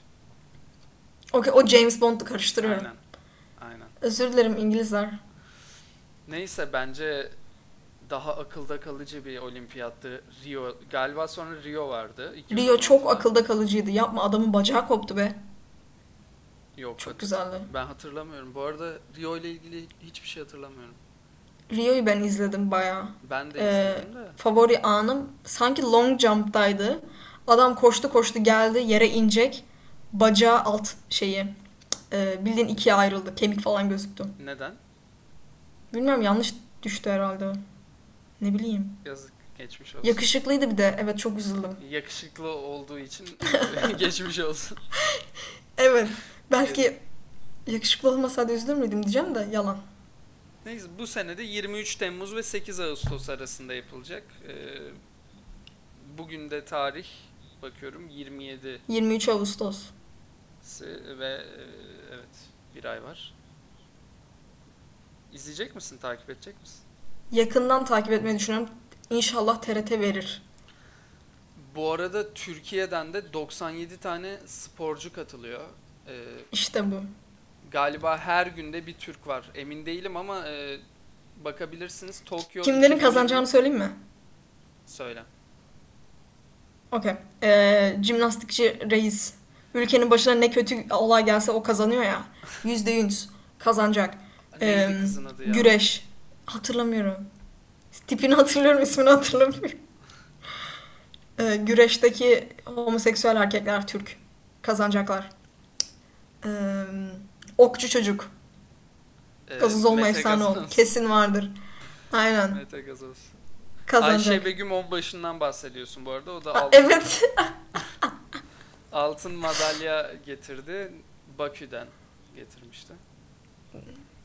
Speaker 2: Okey o James Bond'u karıştırıyorum.
Speaker 1: Aynen. Aynen.
Speaker 2: Özür dilerim İngilizler.
Speaker 1: Neyse bence daha akılda kalıcı bir olimpiyattı Rio. Galiba sonra Rio vardı.
Speaker 2: Rio çok
Speaker 1: 2016'da.
Speaker 2: akılda kalıcıydı. Yapma adamın bacağı koptu be.
Speaker 1: Yok
Speaker 2: Çok
Speaker 1: hatır-
Speaker 2: güzeldi.
Speaker 1: Ben hatırlamıyorum. Bu arada Rio ile ilgili hiçbir şey hatırlamıyorum.
Speaker 2: Rio'yu ben izledim bayağı.
Speaker 1: Ben de
Speaker 2: Ee,
Speaker 1: izledim de.
Speaker 2: favori anım sanki long jump'taydı. Adam koştu koştu geldi yere inecek. Bacağı alt şeyi. e, bildiğin ikiye ayrıldı. Kemik falan gözüktü.
Speaker 1: Neden?
Speaker 2: Bilmiyorum yanlış düştü herhalde. Ne bileyim.
Speaker 1: Yazık geçmiş olsun.
Speaker 2: Yakışıklıydı bir de. Evet çok üzüldüm.
Speaker 1: Yakışıklı olduğu için geçmiş olsun.
Speaker 2: Evet. Belki yakışıklı olmasaydı üzülür müydüm diyeceğim de yalan.
Speaker 1: Neyse bu senede 23 Temmuz ve 8 Ağustos arasında yapılacak. Ee, bugün de tarih bakıyorum 27
Speaker 2: 23 Ağustos.
Speaker 1: ve e, evet bir ay var. İzleyecek misin? Takip edecek misin?
Speaker 2: Yakından takip etmeyi düşünüyorum. İnşallah TRT verir.
Speaker 1: Bu arada Türkiye'den de 97 tane sporcu katılıyor. Ee,
Speaker 2: İşte bu.
Speaker 1: galiba her günde bir Türk var. Emin değilim ama e, bakabilirsiniz. Tokyo
Speaker 2: Kimlerin
Speaker 1: 2020
Speaker 2: kazanacağını söyleyeyim mi?
Speaker 1: söyle.
Speaker 2: Okey. Ee, jimnastikçi reis. Ülkenin başına ne kötü olay gelse o kazanıyor ya. Yüzde yüz kazanacak.
Speaker 1: Neydi
Speaker 2: Ee,
Speaker 1: kızın adı ya?
Speaker 2: Güreş. Hatırlamıyorum. Tipini hatırlıyorum, ismini hatırlamıyorum. Ee, güreşteki homoseksüel erkekler Türk. Kazanacaklar. Ee, okçu çocuk.
Speaker 1: Ee,
Speaker 2: Gazoz olma
Speaker 1: Mete
Speaker 2: efsane ol.
Speaker 1: Gazoz.
Speaker 2: Kesin vardır. Aynen.
Speaker 1: Mete Gazoz.
Speaker 2: Kazanacak.
Speaker 1: Ayşe Begüm Onbaşı'ndan bahsediyorsun bu arada. O da
Speaker 2: Aa,
Speaker 1: altın,
Speaker 2: evet.
Speaker 1: altın madalya getirdi. Bakü'den getirmişti.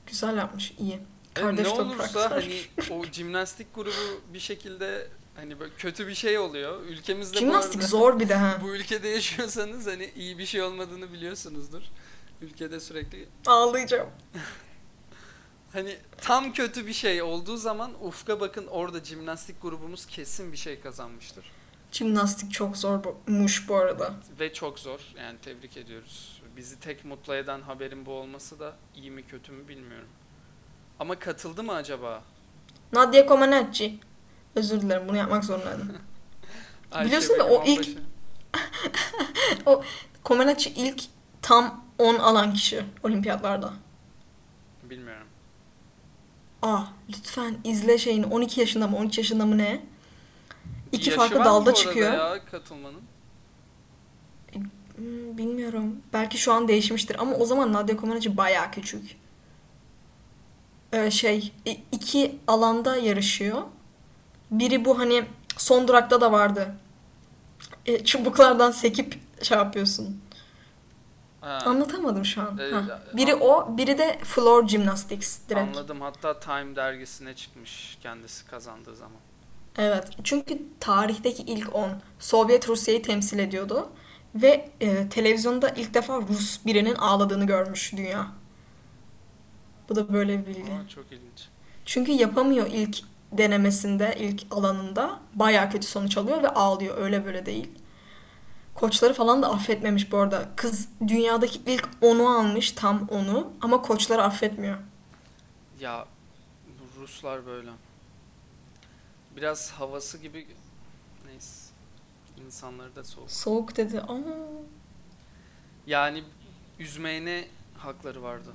Speaker 2: Güzel yapmış. iyi.
Speaker 1: E,
Speaker 2: Kardeş
Speaker 1: ne
Speaker 2: toprak.
Speaker 1: olursa hani o jimnastik grubu bir şekilde hani böyle kötü bir şey oluyor. Ülkemizde bu
Speaker 2: Jimnastik
Speaker 1: arada-
Speaker 2: zor bir de ha.
Speaker 1: Bu ülkede yaşıyorsanız hani iyi bir şey olmadığını biliyorsunuzdur. Ülkede sürekli
Speaker 2: Ağlayacağım.
Speaker 1: hani tam kötü bir şey olduğu zaman ufka bakın orada jimnastik grubumuz kesin bir şey kazanmıştır.
Speaker 2: Jimnastik çok zormuş bu arada.
Speaker 1: Ve çok zor yani tebrik ediyoruz. Bizi tek mutlu eden haberin bu olması da iyi mi kötü mü bilmiyorum. Ama katıldı mı acaba?
Speaker 2: Nadia Comaneci. Özür dilerim bunu yapmak zorundaydım. Biliyorsun da o
Speaker 1: Bekim
Speaker 2: ilk-
Speaker 1: Onbaşı.
Speaker 2: Comaneci ilk tam 10 alan kişi olimpiyatlarda.
Speaker 1: Bilmiyorum.
Speaker 2: Aa lütfen izle şeyini 12 yaşında mı 13 yaşında mı ne? İki
Speaker 1: Yaşı
Speaker 2: farklı
Speaker 1: var mı
Speaker 2: dalda
Speaker 1: bu arada
Speaker 2: çıkıyor.
Speaker 1: Ya, katılmanın.
Speaker 2: Hmm, bilmiyorum. Belki şu an değişmiştir ama o zaman Nadia Comaneci bayağı küçük. Ee, şey i- iki alanda yarışıyor. Biri bu hani son durakta da vardı. E, çubuklardan sekip şey yapıyorsun.
Speaker 1: Ha, Ee,
Speaker 2: Anlatamadım şu an.
Speaker 1: Evet,
Speaker 2: Ha. Biri
Speaker 1: an-
Speaker 2: o, biri de floor gymnastics direkt.
Speaker 1: anladım. Hatta Time dergisine çıkmış kendisi kazandığı zaman.
Speaker 2: Evet. Çünkü tarihteki ilk 10 Sovyet Rusya'yı temsil ediyordu ve e, televizyonda ilk defa Rus birinin ağladığını görmüş dünya. Bu da böyle bir bilgi.
Speaker 1: Aa, çok ilginç.
Speaker 2: Çünkü yapamıyor ilk denemesinde, ilk alanında. Bayağı kötü sonuç alıyor ve ağlıyor. Öyle böyle değil. Koçları falan da affetmemiş bu arada. Kız dünyadaki ilk 10'u almış, tam 10'u ama koçları affetmiyor.
Speaker 1: Ya bu Ruslar böyle. Biraz havası gibi neyse insanları da soğuk.
Speaker 2: Soğuk dedi. Aa.
Speaker 1: Yani üzmeyene hakları vardı.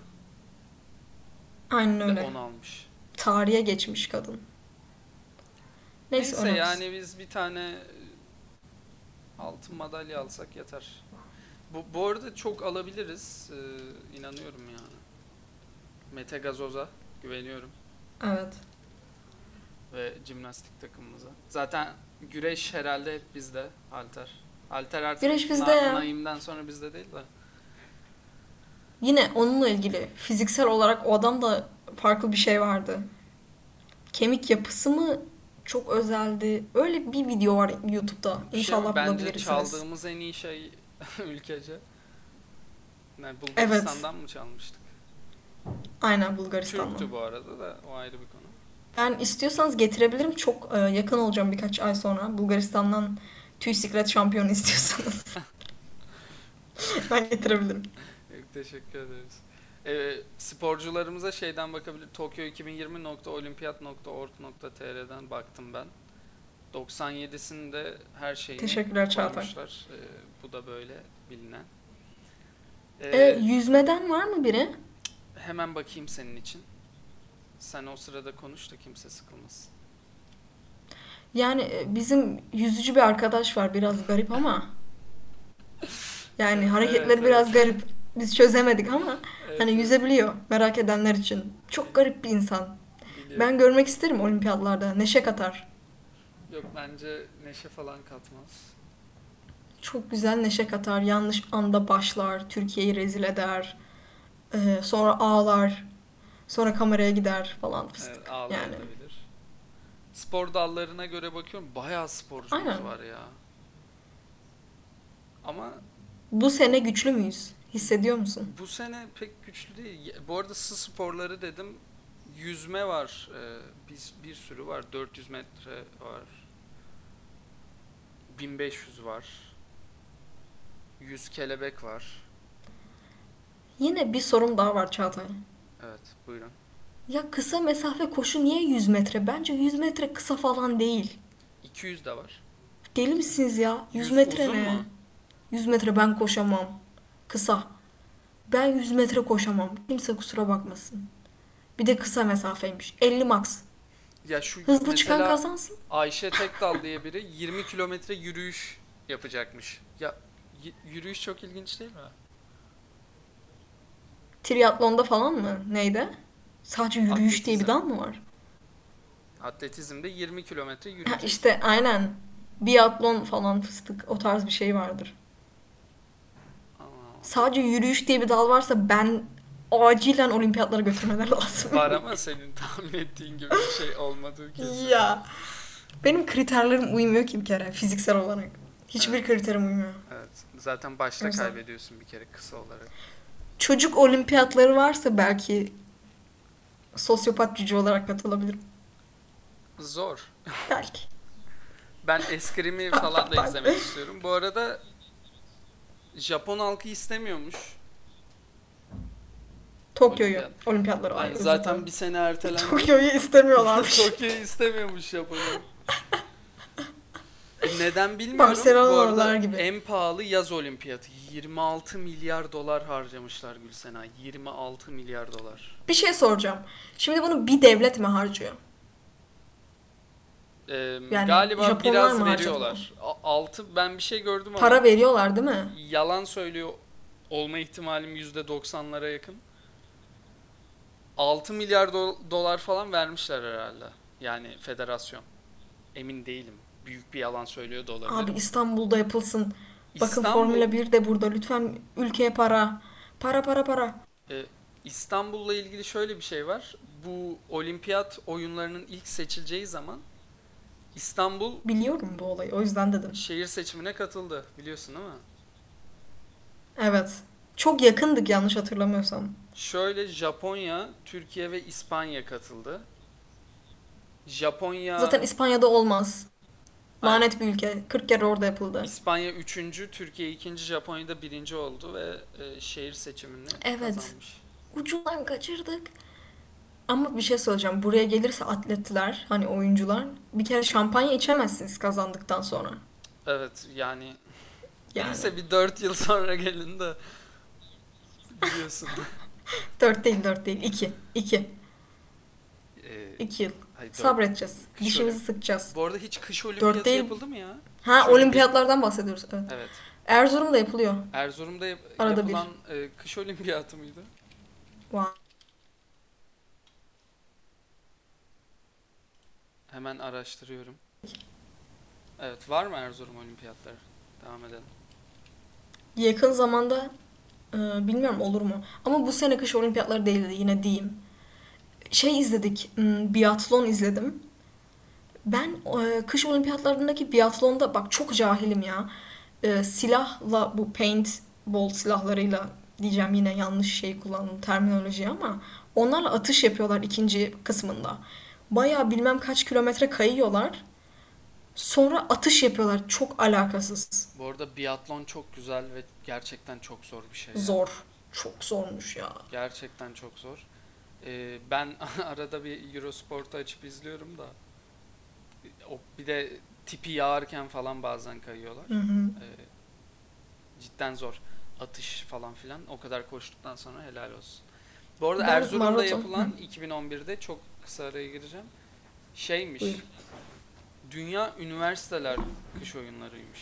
Speaker 2: Aynen
Speaker 1: Ve
Speaker 2: öyle.
Speaker 1: onu almış.
Speaker 2: Tarihe geçmiş kadın. Neyse,
Speaker 1: Neyse,
Speaker 2: önemsiz.
Speaker 1: yani biz bir tane e, altın madalya alsak yeter. Bu, bu arada çok alabiliriz. Ee, inanıyorum yani. Mete Gazoz'a güveniyorum.
Speaker 2: Evet.
Speaker 1: Ve jimnastik takımımıza. Zaten güreş herhalde hep bizde. Alter. Alter artık
Speaker 2: Güreş bizde ya.
Speaker 1: Naim'den sonra bizde değil de.
Speaker 2: Yine onunla ilgili fiziksel olarak o adamda farklı bir şey vardı. Kemik yapısı mı çok özeldi. Öyle bir video var YouTube'da.
Speaker 1: Bir şey
Speaker 2: İnşallah
Speaker 1: mi? Bence
Speaker 2: bulabilirsiniz.
Speaker 1: çaldığımız en iyi şey ülkece. Yani
Speaker 2: Evet.
Speaker 1: Bulgaristan'dan mı çalmıştık?
Speaker 2: Aynen Bulgaristan'da.
Speaker 1: Türktü bu arada da o ayrı bir konu.
Speaker 2: Ben istiyorsanız getirebilirim. Çok e, yakın olacağım birkaç ay sonra. Bulgaristan'dan tüy siklet şampiyonu istiyorsanız. ben getirebilirim.
Speaker 1: Yok, teşekkür ederiz. Ee, sporcularımıza şeyden bakabilir. Tokyo 2020.olimpiyat.org.tr'den baktım ben. 97'sinde her şeyini
Speaker 2: Teşekkürler Çağatay.
Speaker 1: koymuşlar. Ee, bu da böyle bilinen. Ee,
Speaker 2: E, yüzmeden var mı biri?
Speaker 1: hemen bakayım senin için. Sen o sırada konuş da kimse sıkılmasın.
Speaker 2: Yani e, bizim yüzücü bir arkadaş var biraz garip ama yani hareketleri
Speaker 1: Evet, evet.
Speaker 2: biraz garip. Biz çözemedik ama
Speaker 1: Evet,
Speaker 2: hani
Speaker 1: evet,
Speaker 2: yüzebiliyor merak edenler için. Çok garip bir insan.
Speaker 1: biliyorum.
Speaker 2: Ben görmek isterim olimpiyatlarda. Neşe katar.
Speaker 1: Yok bence neşe falan katmaz.
Speaker 2: Çok güzel neşe katar. Yanlış anda başlar. Türkiye'yi rezil eder. Ee, sonra ağlar. Sonra kameraya gider falan fıstık.
Speaker 1: Evet, ağlayabilir. Spor dallarına göre bakıyorum bayağı sporcumuz
Speaker 2: Aynen.
Speaker 1: var ya. Ama
Speaker 2: Bu sene güçlü müyüz? Hissediyor musun?
Speaker 1: bu sene pek güçlü değil. Ya- Bu arada sı sporları dedim. Yüzme var. Ee, bir, bir sürü var. 400 metre var. 1500 var. 100 kelebek var.
Speaker 2: Yine bir sorum daha var Çağatay.
Speaker 1: Evet, buyurun.
Speaker 2: Ya kısa mesafe koşu niye 100 metre? Bence 100 metre kısa falan değil.
Speaker 1: 200 de var.
Speaker 2: Deli misiniz ya? 100
Speaker 1: Yüz
Speaker 2: metre
Speaker 1: uzun
Speaker 2: ne?
Speaker 1: mu?
Speaker 2: 100 metre ben koşamam. Kısa. Ben 100 metre koşamam. Kimse kusura bakmasın. Bir de kısa mesafeymiş. 50 max.
Speaker 1: Ya şu
Speaker 2: Hızlı çıkan
Speaker 1: mesela-
Speaker 2: kazansın.
Speaker 1: Ayşe Tekdal diye biri 20 kilometre yürüyüş yapacakmış. Ya y- yürüyüş çok ilginç değil mi?
Speaker 2: Triatlonda falan mı? Neydi? Sadece yürüyüş diye bir
Speaker 1: Atletizm.
Speaker 2: dal mı var?
Speaker 1: Atletizmde 20 kilometre
Speaker 2: Ha
Speaker 1: yürüyecek.
Speaker 2: işte aynen. Biatlon falan fıstık o tarz bir şey vardır.
Speaker 1: Aa,
Speaker 2: Sadece yürüyüş diye bir dal varsa ben acilen olimpiyatlara götürmeler lazım.
Speaker 1: Var ama senin tahmin ettiğin gibi bir şey olmadığı kesin.
Speaker 2: Ya. Benim kriterlerim uymuyor ki bir kere fiziksel olarak. Hiçbir
Speaker 1: Evet.
Speaker 2: kriterim uymuyor.
Speaker 1: Evet. Zaten başta
Speaker 2: O yüzden-
Speaker 1: kaybediyorsun bir kere kısa olarak.
Speaker 2: Çocuk olimpiyatları varsa belki sosyopat cüce olarak katılabilirim.
Speaker 1: Zor.
Speaker 2: Belki.
Speaker 1: Ben eskrimi falan da izlemek istiyorum. Bu arada Japon halkı istemiyormuş.
Speaker 2: Tokyo'yu.
Speaker 1: Olimpiyat.
Speaker 2: Olimpiyatları
Speaker 1: Yani
Speaker 2: ay, özür
Speaker 1: zaten
Speaker 2: dilerim.
Speaker 1: bir sene ertelendi.
Speaker 2: Tokyo'yu istemiyorlarmış.
Speaker 1: Tokyo istemiyormuş Japonya. Neden bilmiyorum.
Speaker 2: Barcelona
Speaker 1: Bu arada
Speaker 2: oralar gibi.
Speaker 1: en pahalı yaz olimpiyatı. 26 milyar dolar harcamışlar Gülsena. 26 milyar dolar.
Speaker 2: bir şey soracağım. Şimdi bunu bir devlet mi harcıyor?
Speaker 1: Ee,
Speaker 2: Yani
Speaker 1: galiba
Speaker 2: Japonlar
Speaker 1: biraz
Speaker 2: mı
Speaker 1: veriyorlar. 6 ben bir şey gördüm ama
Speaker 2: Para veriyorlar değil mi?
Speaker 1: yalan söylüyor olma ihtimalim %90'lara yakın. 6 milyar do- dolar falan vermişler herhalde. Yani federasyon. Emin değilim. Büyük bir yalan söylüyor da olabilir.
Speaker 2: Abi İstanbul'da yapılsın. Bakın
Speaker 1: İstanbul-
Speaker 2: Formula 1 de burada. Lütfen ülkeye para. Para para para.
Speaker 1: E, İstanbul'la ilgili şöyle bir şey var. Bu olimpiyat oyunlarının ilk seçileceği zaman İstanbul
Speaker 2: Biliyorum bu olayı. O yüzden dedim.
Speaker 1: şehir seçimine katıldı. Biliyorsun değil mi?
Speaker 2: Evet. Çok yakındık yanlış hatırlamıyorsam.
Speaker 1: Şöyle Japonya, Türkiye ve İspanya katıldı. Japonya,
Speaker 2: Zaten İspanya'da olmaz.
Speaker 1: Aynen.
Speaker 2: Lanet bir ülke. 40 kere orada yapıldı.
Speaker 1: İspanya 3. Türkiye 2. Japonya'da 1. oldu ve e, şehir seçimini
Speaker 2: Evet.
Speaker 1: kazanmış.
Speaker 2: Ucundan kaçırdık. Ama bir şey söyleyeceğim. Buraya gelirse atletler, hani oyuncular bir kere şampanya içemezsiniz kazandıktan sonra.
Speaker 1: Evet yani,
Speaker 2: Yani
Speaker 1: neyse bir 4 yıl sonra gelin de biliyorsun.
Speaker 2: 4 değil 4 değil 2. 2.
Speaker 1: E,
Speaker 2: 2 yıl.
Speaker 1: hayır, dört-
Speaker 2: Sabredeceğiz.
Speaker 1: Kış
Speaker 2: Dişimizi sıkacağız.
Speaker 1: Bu arada hiç kış olimpiyatı
Speaker 2: değil.
Speaker 1: yapıldı mı ya?
Speaker 2: Ha
Speaker 1: Şöyle bir-
Speaker 2: olimpiyatlardan bahsediyoruz. Evet.
Speaker 1: Evet.
Speaker 2: Erzurum'da yapılıyor.
Speaker 1: Erzurum'da yap-
Speaker 2: Arada
Speaker 1: yapılan e, kış olimpiyatı mıydı?
Speaker 2: Vay.
Speaker 1: Hemen araştırıyorum. Evet, var mı Erzurum olimpiyatları? Devam edelim.
Speaker 2: Yakın zamanda e, bilmiyorum olur mu? Ama bu sene kış olimpiyatları değildi yine diyeyim. Şey izledik, m, biatlon izledim. Ben e, kış olimpiyatlarındaki biatlonda bak çok cahilim ya. E, silahla bu paintball silahlarıyla diyeceğim yine yanlış şey kullandım terminoloji ama onlarla atış yapıyorlar ikinci kısmında. Baya bilmem kaç kilometre kayıyorlar. Sonra atış yapıyorlar çok alakasız.
Speaker 1: Bu arada biatlon çok güzel ve gerçekten çok zor bir şey. ya.
Speaker 2: Zor. Çok zormuş ya.
Speaker 1: Gerçekten çok zor. Ee, ben arada bir Eurosport'u açıp izliyorum da o bir de tipi yağarken falan bazen kayıyorlar.
Speaker 2: Hı hı.
Speaker 1: Ee, cidden zor. Atış falan filan. O kadar koştuktan sonra helal olsun. Bu arada
Speaker 2: Ben
Speaker 1: Erzurum'da
Speaker 2: maraton-
Speaker 1: yapılan 2011'de çok kısa araya gireceğim. Şeymiş.
Speaker 2: Buyur.
Speaker 1: Dünya üniversiteler kış oyunlarıymış.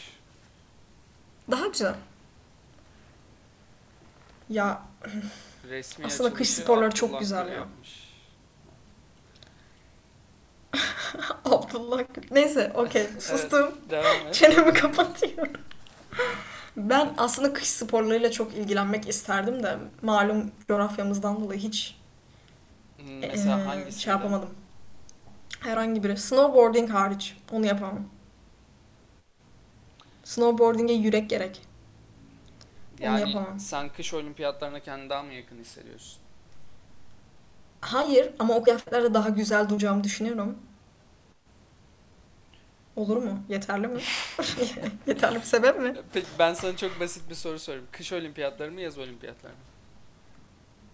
Speaker 2: Daha güzel. Ya
Speaker 1: Resmi
Speaker 2: Aslında kış
Speaker 1: açılışı
Speaker 2: sporları çok
Speaker 1: Abdullah
Speaker 2: güzel
Speaker 1: Gül
Speaker 2: ya.
Speaker 1: yapmış.
Speaker 2: Abdullah Gül. Neyse okey sustum.
Speaker 1: Devam et.
Speaker 2: Çenemi kapatıyorum. Ben aslında kış sporlarıyla çok ilgilenmek isterdim de malum coğrafyamızdan dolayı hiç
Speaker 1: Hmm,
Speaker 2: e,
Speaker 1: Mesela
Speaker 2: e,
Speaker 1: hangisinde?
Speaker 2: şey yapamadım. Herhangi biri. Snowboarding hariç. Onu yapamam. Snowboarding'e yürek gerek. Onu yapamam.
Speaker 1: Yani sen kış olimpiyatlarına kendini daha mı yakın hissediyorsun?
Speaker 2: Hayır ama o kıyafetlerde daha güzel duracağımı düşünüyorum. Olur mu? Yeterli mi? Yeterli bir sebep mi?
Speaker 1: Peki ben sana çok basit bir soru sorayım. Kış olimpiyatları mı yaz olimpiyatları mı?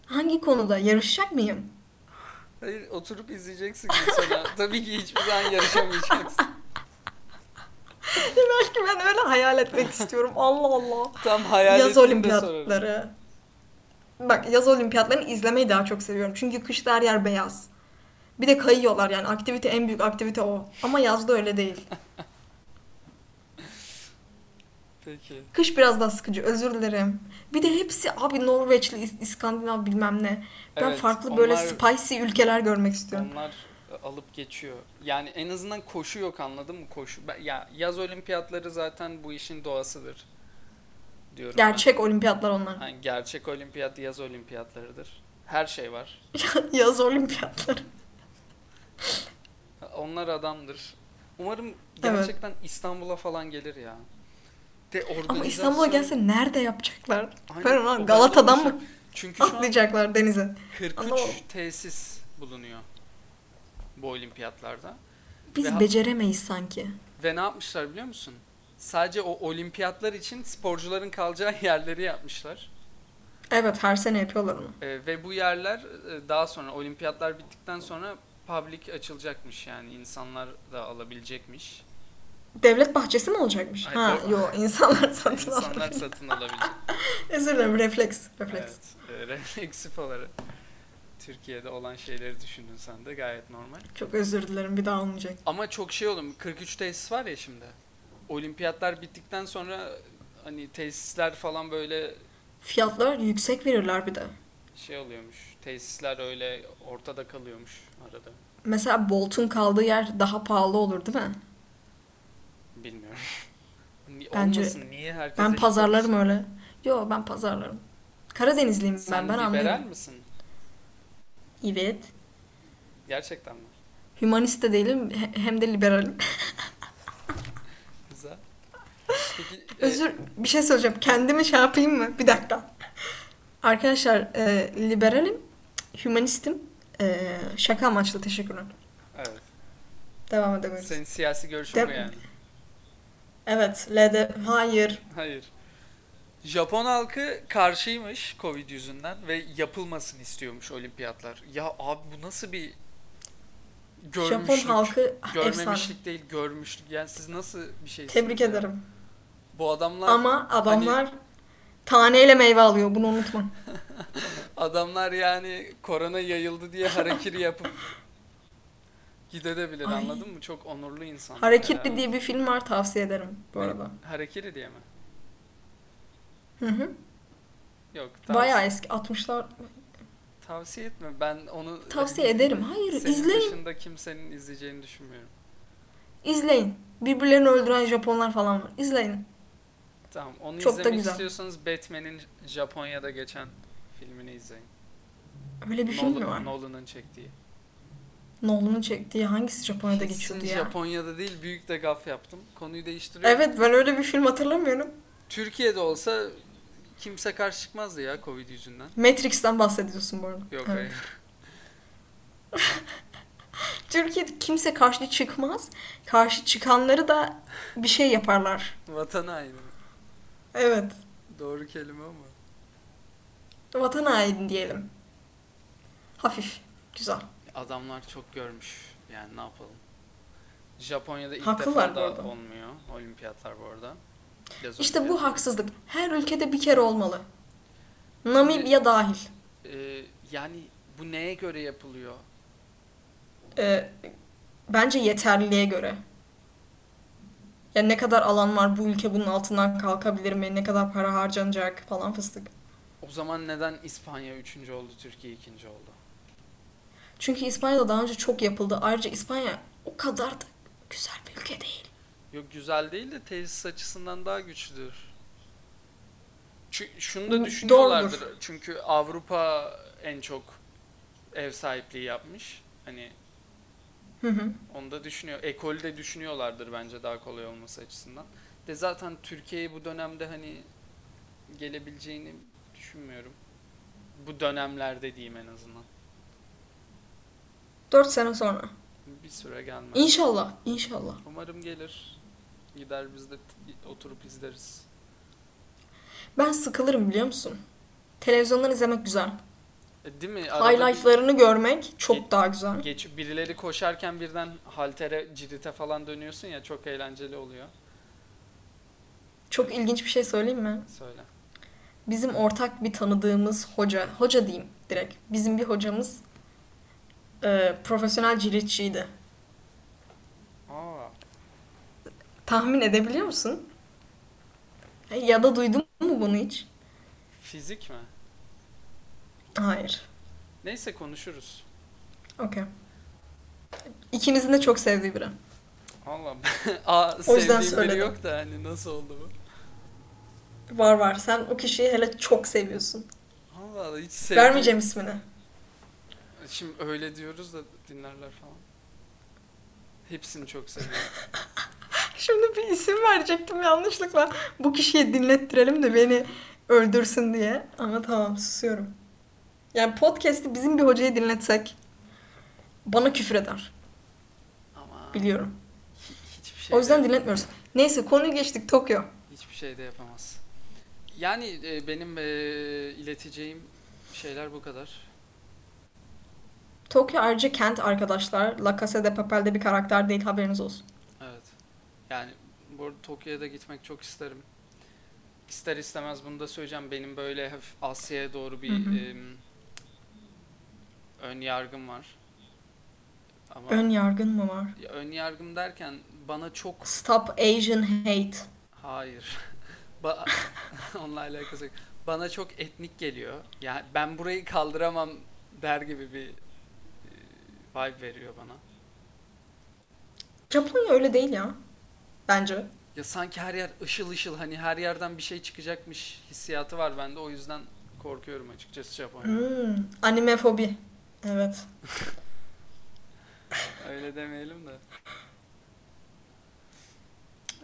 Speaker 2: Hangi konuda? Yarışacak mıyım?
Speaker 1: Hayır oturup izleyeceksin mesela. Tabii ki hiçbir zaman yarışamayacaksın.
Speaker 2: Belki ben öyle hayal etmek istiyorum. Allah Allah.
Speaker 1: Tam hayal
Speaker 2: yaz
Speaker 1: ettiğinde sorarım.
Speaker 2: olimpiyatları. Bak yaz olimpiyatlarını izlemeyi daha çok seviyorum. Çünkü kışta her yer beyaz. Bir de kayıyorlar yani aktivite en büyük aktivite o. Ama yazda öyle değil.
Speaker 1: Peki.
Speaker 2: Kış biraz daha sıkıcı özür dilerim. Bir de hepsi abi Norveçli, İs- İskandinav bilmem ne. Ben
Speaker 1: Evet,
Speaker 2: farklı böyle
Speaker 1: onlar-
Speaker 2: spicy ülkeler görmek istiyorum.
Speaker 1: Onlar e, alıp geçiyor. Yani en azından koşu yok anladın mı? Koşu. Ben- Ya yaz olimpiyatları zaten bu işin doğasıdır. Diyorum ben.
Speaker 2: Gerçek olimpiyatlar onlar.
Speaker 1: Yani gerçek olimpiyat yaz olimpiyatlarıdır. Her şey var.
Speaker 2: yaz olimpiyatları.
Speaker 1: Onlar adamdır. Umarım
Speaker 2: Evet.
Speaker 1: gerçekten İstanbul'a falan gelir ya. De
Speaker 2: Ama
Speaker 1: organizasyon-
Speaker 2: İstanbul'a gelse nerede yapacaklar?
Speaker 1: şey- Aynen,
Speaker 2: Ben
Speaker 1: o
Speaker 2: ona
Speaker 1: kadar
Speaker 2: Galata'dan mı Ah,
Speaker 1: Çünkü şu an
Speaker 2: atlayacaklar denize?
Speaker 1: 43
Speaker 2: Anlamadım.
Speaker 1: tesis bulunuyor bu olimpiyatlarda.
Speaker 2: Biz
Speaker 1: Ve-
Speaker 2: beceremeyiz sanki.
Speaker 1: Ve ne yapmışlar biliyor musun? Sadece o olimpiyatlar için sporcuların kalacağı yerleri yapmışlar.
Speaker 2: Evet her sene yapıyorlar onu.
Speaker 1: E, ve bu yerler e, daha sonra olimpiyatlar bittikten sonra public açılacakmış yani insanlar da alabilecekmiş.
Speaker 2: Devlet bahçesi mi olacakmış?
Speaker 1: Ay,
Speaker 2: ha
Speaker 1: o-
Speaker 2: yo insanlar satın aldı.
Speaker 1: İnsanlar satın alabilecek.
Speaker 2: Özür dilerim refleks. Refleks.
Speaker 1: Evet, e, refleksif olarak Türkiye'de olan şeyleri düşündün sen de gayet normal.
Speaker 2: Çok özür dilerim bir daha olmayacak.
Speaker 1: Ama çok şey oğlum 43 tesis var ya şimdi. Olimpiyatlar bittikten sonra hani tesisler falan böyle
Speaker 2: Fiyatlar yüksek verirler bir de.
Speaker 1: şey oluyormuş. Tesisler öyle ortada kalıyormuş arada.
Speaker 2: Mesela Bolt'un kaldığı yer daha pahalı olur değil mi?
Speaker 1: Bilmiyorum. Ni-
Speaker 2: Bence-
Speaker 1: Olmasın niye herkese...
Speaker 2: Ben pazarlarım öyle. Yo ben pazarlarım. Karadenizliyim ben
Speaker 1: Sen
Speaker 2: ben
Speaker 1: liberal
Speaker 2: anlıyorum.
Speaker 1: misin?
Speaker 2: Evet.
Speaker 1: Gerçekten mi?
Speaker 2: Hümanist de değilim he- hem de liberalim.
Speaker 1: Güzel. Peki, e,
Speaker 2: Özür bir şey söyleyeceğim. Kendimi şey yapayım mı? Bir dakika. Arkadaşlar e, liberalim, hümanistim. E, şaka amaçlı teşekkürler.
Speaker 1: evet.
Speaker 2: Devam edemiyoruz.
Speaker 1: Senin siyasi görüşün mü
Speaker 2: Dem-
Speaker 1: yani?
Speaker 2: Evet, LD hayır.
Speaker 1: Hayır. Japon halkı karşıymış Covid yüzünden ve yapılmasın istiyormuş olimpiyatlar. Ya abi bu nasıl bir görmüşlük?
Speaker 2: Japon halkı Ah, efsane.
Speaker 1: Görmemişlik değil, görmüşlük. Yani siz nasıl bir şeysiniz?
Speaker 2: Tebrik
Speaker 1: ya?
Speaker 2: ederim.
Speaker 1: Bu adamlar
Speaker 2: Ama adamlar taneyle meyve alıyor. Bunu unutma.
Speaker 1: adamlar yani korona yayıldı diye harekiri yapıp gidebilir
Speaker 2: Ay.
Speaker 1: anladın mı? Çok onurlu insan.
Speaker 2: Hareketli diye bir film var tavsiye ederim bu
Speaker 1: Ne?
Speaker 2: arada.
Speaker 1: Harekiri Hani diye mi?
Speaker 2: Hı hı.
Speaker 1: Yok. Tavsi-
Speaker 2: Bayağı eski 60'lar.
Speaker 1: tavsiye etme. Ben onu
Speaker 2: Tavsiye ederim. Hayır
Speaker 1: Senin
Speaker 2: izleyin.
Speaker 1: dışında kimsenin izleyeceğini düşünmüyorum.
Speaker 2: İzleyin. Birbirlerini öldüren Japonlar falan var. İzleyin.
Speaker 1: Tamam. Onu
Speaker 2: Çok da
Speaker 1: izlemek
Speaker 2: güzel.
Speaker 1: istiyorsanız Batman'in Japonya'da geçen filmini izleyin.
Speaker 2: Öyle bir film mi
Speaker 1: Nolan,
Speaker 2: var?
Speaker 1: Nolan'ın çektiği.
Speaker 2: Nolan'ın çektiği hangisi Japonya'da
Speaker 1: Kesin
Speaker 2: geçiyordu ya?
Speaker 1: Japonya'da değil, büyük de gaf yaptım. Konuyu değiştiriyorum.
Speaker 2: Evet ben öyle bir film hatırlamıyorum.
Speaker 1: Türkiye'de olsa kimse karşı çıkmazdı ya Covid yüzünden.
Speaker 2: Matrix'ten bahsediyorsun bu arada.
Speaker 1: Yok
Speaker 2: Evet.
Speaker 1: hayır.
Speaker 2: Türkiye'de kimse karşı çıkmaz. Karşı çıkanları da bir şey yaparlar.
Speaker 1: Vatan haini.
Speaker 2: Evet.
Speaker 1: Doğru kelime ama.
Speaker 2: Vatan haini diyelim. Hafif. Güzel.
Speaker 1: Adamlar çok görmüş. Yani ne yapalım. Japonya'da ilk
Speaker 2: Haklılar
Speaker 1: defa
Speaker 2: bu
Speaker 1: da
Speaker 2: arada.
Speaker 1: olmuyor. Olimpiyatlar bu arada. Yaz
Speaker 2: İşte bu
Speaker 1: olimpiyatı.
Speaker 2: haksızlık. Her ülkede bir kere olmalı. Namibya dahil.
Speaker 1: Ee, yani bu neye göre yapılıyor?
Speaker 2: Ee, bence yeterliliğe göre. Ya ne kadar alan var bu ülke bunun altından kalkabilir mi? Ne kadar para harcanacak falan fıstık.
Speaker 1: O zaman neden İspanya üçüncü oldu, Türkiye ikinci oldu?
Speaker 2: Çünkü İspanya'da daha önce çok yapıldı. Ayrıca İspanya o kadar da güzel bir ülke değil.
Speaker 1: Yok güzel değil de tesis açısından daha güçlüdür. Çü- şunu da
Speaker 2: Bu
Speaker 1: düşünüyorlardır. Çünkü Avrupa en çok ev sahipliği yapmış. Hani
Speaker 2: Hı hı.
Speaker 1: onu da düşünüyor. Ekolü de düşünüyorlardır bence daha kolay olması açısından. De zaten Türkiye'yi bu dönemde hani gelebileceğini düşünmüyorum. Bu dönemlerde diyeyim en azından.
Speaker 2: 4 sene sonra.
Speaker 1: Bir süre gelmez.
Speaker 2: İnşallah, inşallah.
Speaker 1: Umarım gelir. Gider biz de t- oturup izleriz.
Speaker 2: Ben sıkılırım biliyor musun? Televizyondan izlemek güzel.
Speaker 1: E, değil mi? Arada
Speaker 2: Highlightlarını görmek
Speaker 1: Ge-
Speaker 2: çok daha
Speaker 1: bir
Speaker 2: güzel.
Speaker 1: geç, birileri koşarken birden haltere, cirite falan dönüyorsun ya çok eğlenceli oluyor.
Speaker 2: Çok ilginç bir şey söyleyeyim mi?
Speaker 1: Söyle.
Speaker 2: Bizim ortak bir tanıdığımız hoca, hoca diyeyim direkt. Bizim bir hocamız e, profesyonel ciritçiydi.
Speaker 1: Aa,
Speaker 2: Tahmin edebiliyor musun? Ya da duydun mu bunu hiç?
Speaker 1: fizik mi?
Speaker 2: Hayır.
Speaker 1: Neyse konuşuruz.
Speaker 2: Okey. İkinizin de çok sevdiği biri.
Speaker 1: Allah. Aa,
Speaker 2: O yüzden
Speaker 1: sevdiğim biri
Speaker 2: söyledim.
Speaker 1: yok da hani nasıl oldu bu?
Speaker 2: Var var. Sen o kişiyi hele çok seviyorsun.
Speaker 1: Allah Allah hiç sevdiğim.
Speaker 2: Vermeyeceğim ismini.
Speaker 1: Şimdi öyle diyoruz da dinlerler falan. Hepsini çok seviyorum.
Speaker 2: Şimdi bir isim verecektim yanlışlıkla. Bu kişiyi dinlettirelim de beni öldürsün diye. Ama tamam susuyorum. Yani podcast'i bizim bir hocayı dinletsek bana küfür eder.
Speaker 1: Ama
Speaker 2: Biliyorum.
Speaker 1: hi- hiçbir şey
Speaker 2: O yüzden
Speaker 1: de-
Speaker 2: dinletmiyoruz. Neyse konuyu geçtik Tokyo.
Speaker 1: hiçbir şey de yapamaz. Yani e, benim e, ileteceğim şeyler bu kadar.
Speaker 2: Tokyo ayrıca kent arkadaşlar. La Casa de Papel'de bir karakter değil haberiniz olsun.
Speaker 1: Evet. Yani bu arada Tokyo'ya da gitmek çok isterim. İster istemez bunu da söyleyeceğim. Benim böyle hafif Asya'ya doğru bir
Speaker 2: Hı hı.
Speaker 1: em, ön yargım var. Ama
Speaker 2: Ön yargın mı var?
Speaker 1: Ya ön yargım derken bana çok
Speaker 2: Stop Asian Hate.
Speaker 1: hayır. Ba onunla alakası yok. Bana çok etnik geliyor. Yani ben burayı kaldıramam der gibi bir e, vibe veriyor bana.
Speaker 2: Japonya öyle değil ya. Bence.
Speaker 1: Ya sanki her yer ışıl ışıl hani her yerden bir şey çıkacakmış hissiyatı var bende o yüzden korkuyorum açıkçası Japonya.
Speaker 2: Hmm, anime fobi. Evet.
Speaker 1: Öyle demeyelim de.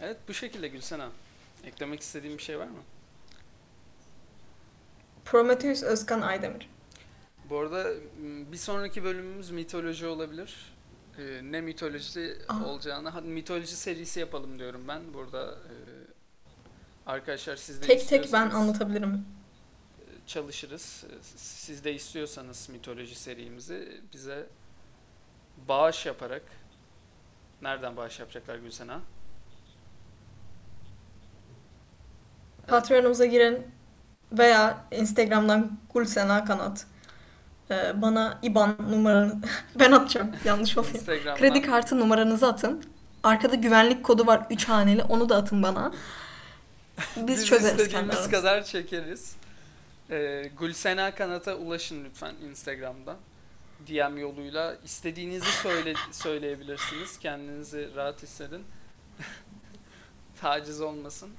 Speaker 1: Evet bu şekilde Gülsena. Eklemek istediğin bir şey var mı?
Speaker 2: Prometheus Özkan Aydemir.
Speaker 1: Bu arada m, bir sonraki bölümümüz mitoloji olabilir. Ee, ne mitolojisi
Speaker 2: Aa.
Speaker 1: olacağını, hadi mitoloji serisi yapalım diyorum ben burada. Ee, arkadaşlar siz de
Speaker 2: Tek tek ben
Speaker 1: istiyorsanız-
Speaker 2: anlatabilirim.
Speaker 1: çalışırız. Siz de istiyorsanız mitoloji serimizi bize bağış yaparak nereden bağış yapacaklar Gülsena?
Speaker 2: Patreon'umuza girin veya Instagram'dan Gulsena Kanat. Ee, bana IBAN numaranı ben atacağım yanlış olayım.
Speaker 1: Instagram'dan.
Speaker 2: Kredi kartı numaranızı atın. Arkada güvenlik kodu var 3 haneli onu da atın bana. Biz, çözeriz kendi
Speaker 1: istediğimiz
Speaker 2: aramızda.
Speaker 1: kadar çekeriz. Ee, Gülsena Kanat'a ulaşın lütfen Instagram'dan. DM yoluyla istediğinizi söyle söyleyebilirsiniz. Kendinizi rahat hissedin. Taciz olmasın.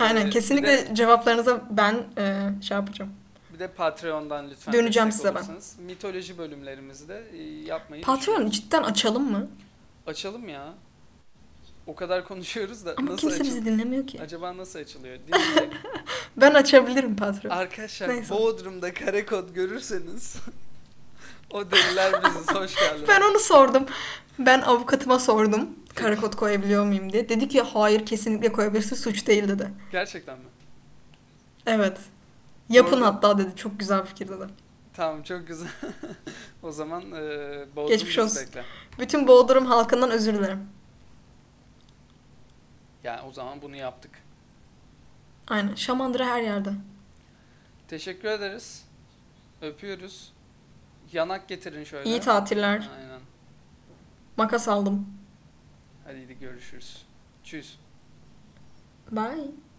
Speaker 1: Ee,
Speaker 2: Aynen
Speaker 1: bir
Speaker 2: kesinlikle
Speaker 1: de-
Speaker 2: cevaplarınıza ben e, şey yapacağım.
Speaker 1: Bir de Patreon'dan lütfen
Speaker 2: Döneceğim
Speaker 1: destek
Speaker 2: size ben.
Speaker 1: olursanız. Mitoloji bölümlerimizi de e, yapmayı düşünüyorum.
Speaker 2: Patreon cidden açalım mı?
Speaker 1: Açalım ya. O kadar konuşuyoruz da
Speaker 2: Ama
Speaker 1: nasıl
Speaker 2: kimse
Speaker 1: açıl-
Speaker 2: bizi dinlemiyor ki.
Speaker 1: Acaba nasıl açılıyor? Dinleyerek.
Speaker 2: Ben açabilirim Patreon.
Speaker 1: Arkadaşlar
Speaker 2: Neyse.
Speaker 1: Bodrum'da kare kod görürseniz o deliler biziz. Hoş geldiniz.
Speaker 2: Ben onu sordum. Ben avukatıma sordum. Karakod koyabiliyor muyum diye. Dedi ki hayır kesinlikle koyabilirsin suç değil dedi.
Speaker 1: Gerçekten mi?
Speaker 2: Evet. Yapın
Speaker 1: Doğru.
Speaker 2: hatta dedi. Çok güzel fikir dedi.
Speaker 1: Tamam çok güzel. o zaman e, Bodrum
Speaker 2: Geçmiş
Speaker 1: bizi
Speaker 2: olsun.
Speaker 1: bekler.
Speaker 2: Bütün Bodrum halkından özür dilerim.
Speaker 1: Yani o zaman bunu yaptık.
Speaker 2: Aynen. Şamandıra her yerde.
Speaker 1: Teşekkür ederiz. Öpüyoruz. Yanak getirin şöyle.
Speaker 2: İyi tatiller.
Speaker 1: Aynen.
Speaker 2: Makas aldım.
Speaker 1: Hadi görüşürüz. Tschüss.
Speaker 2: Bye.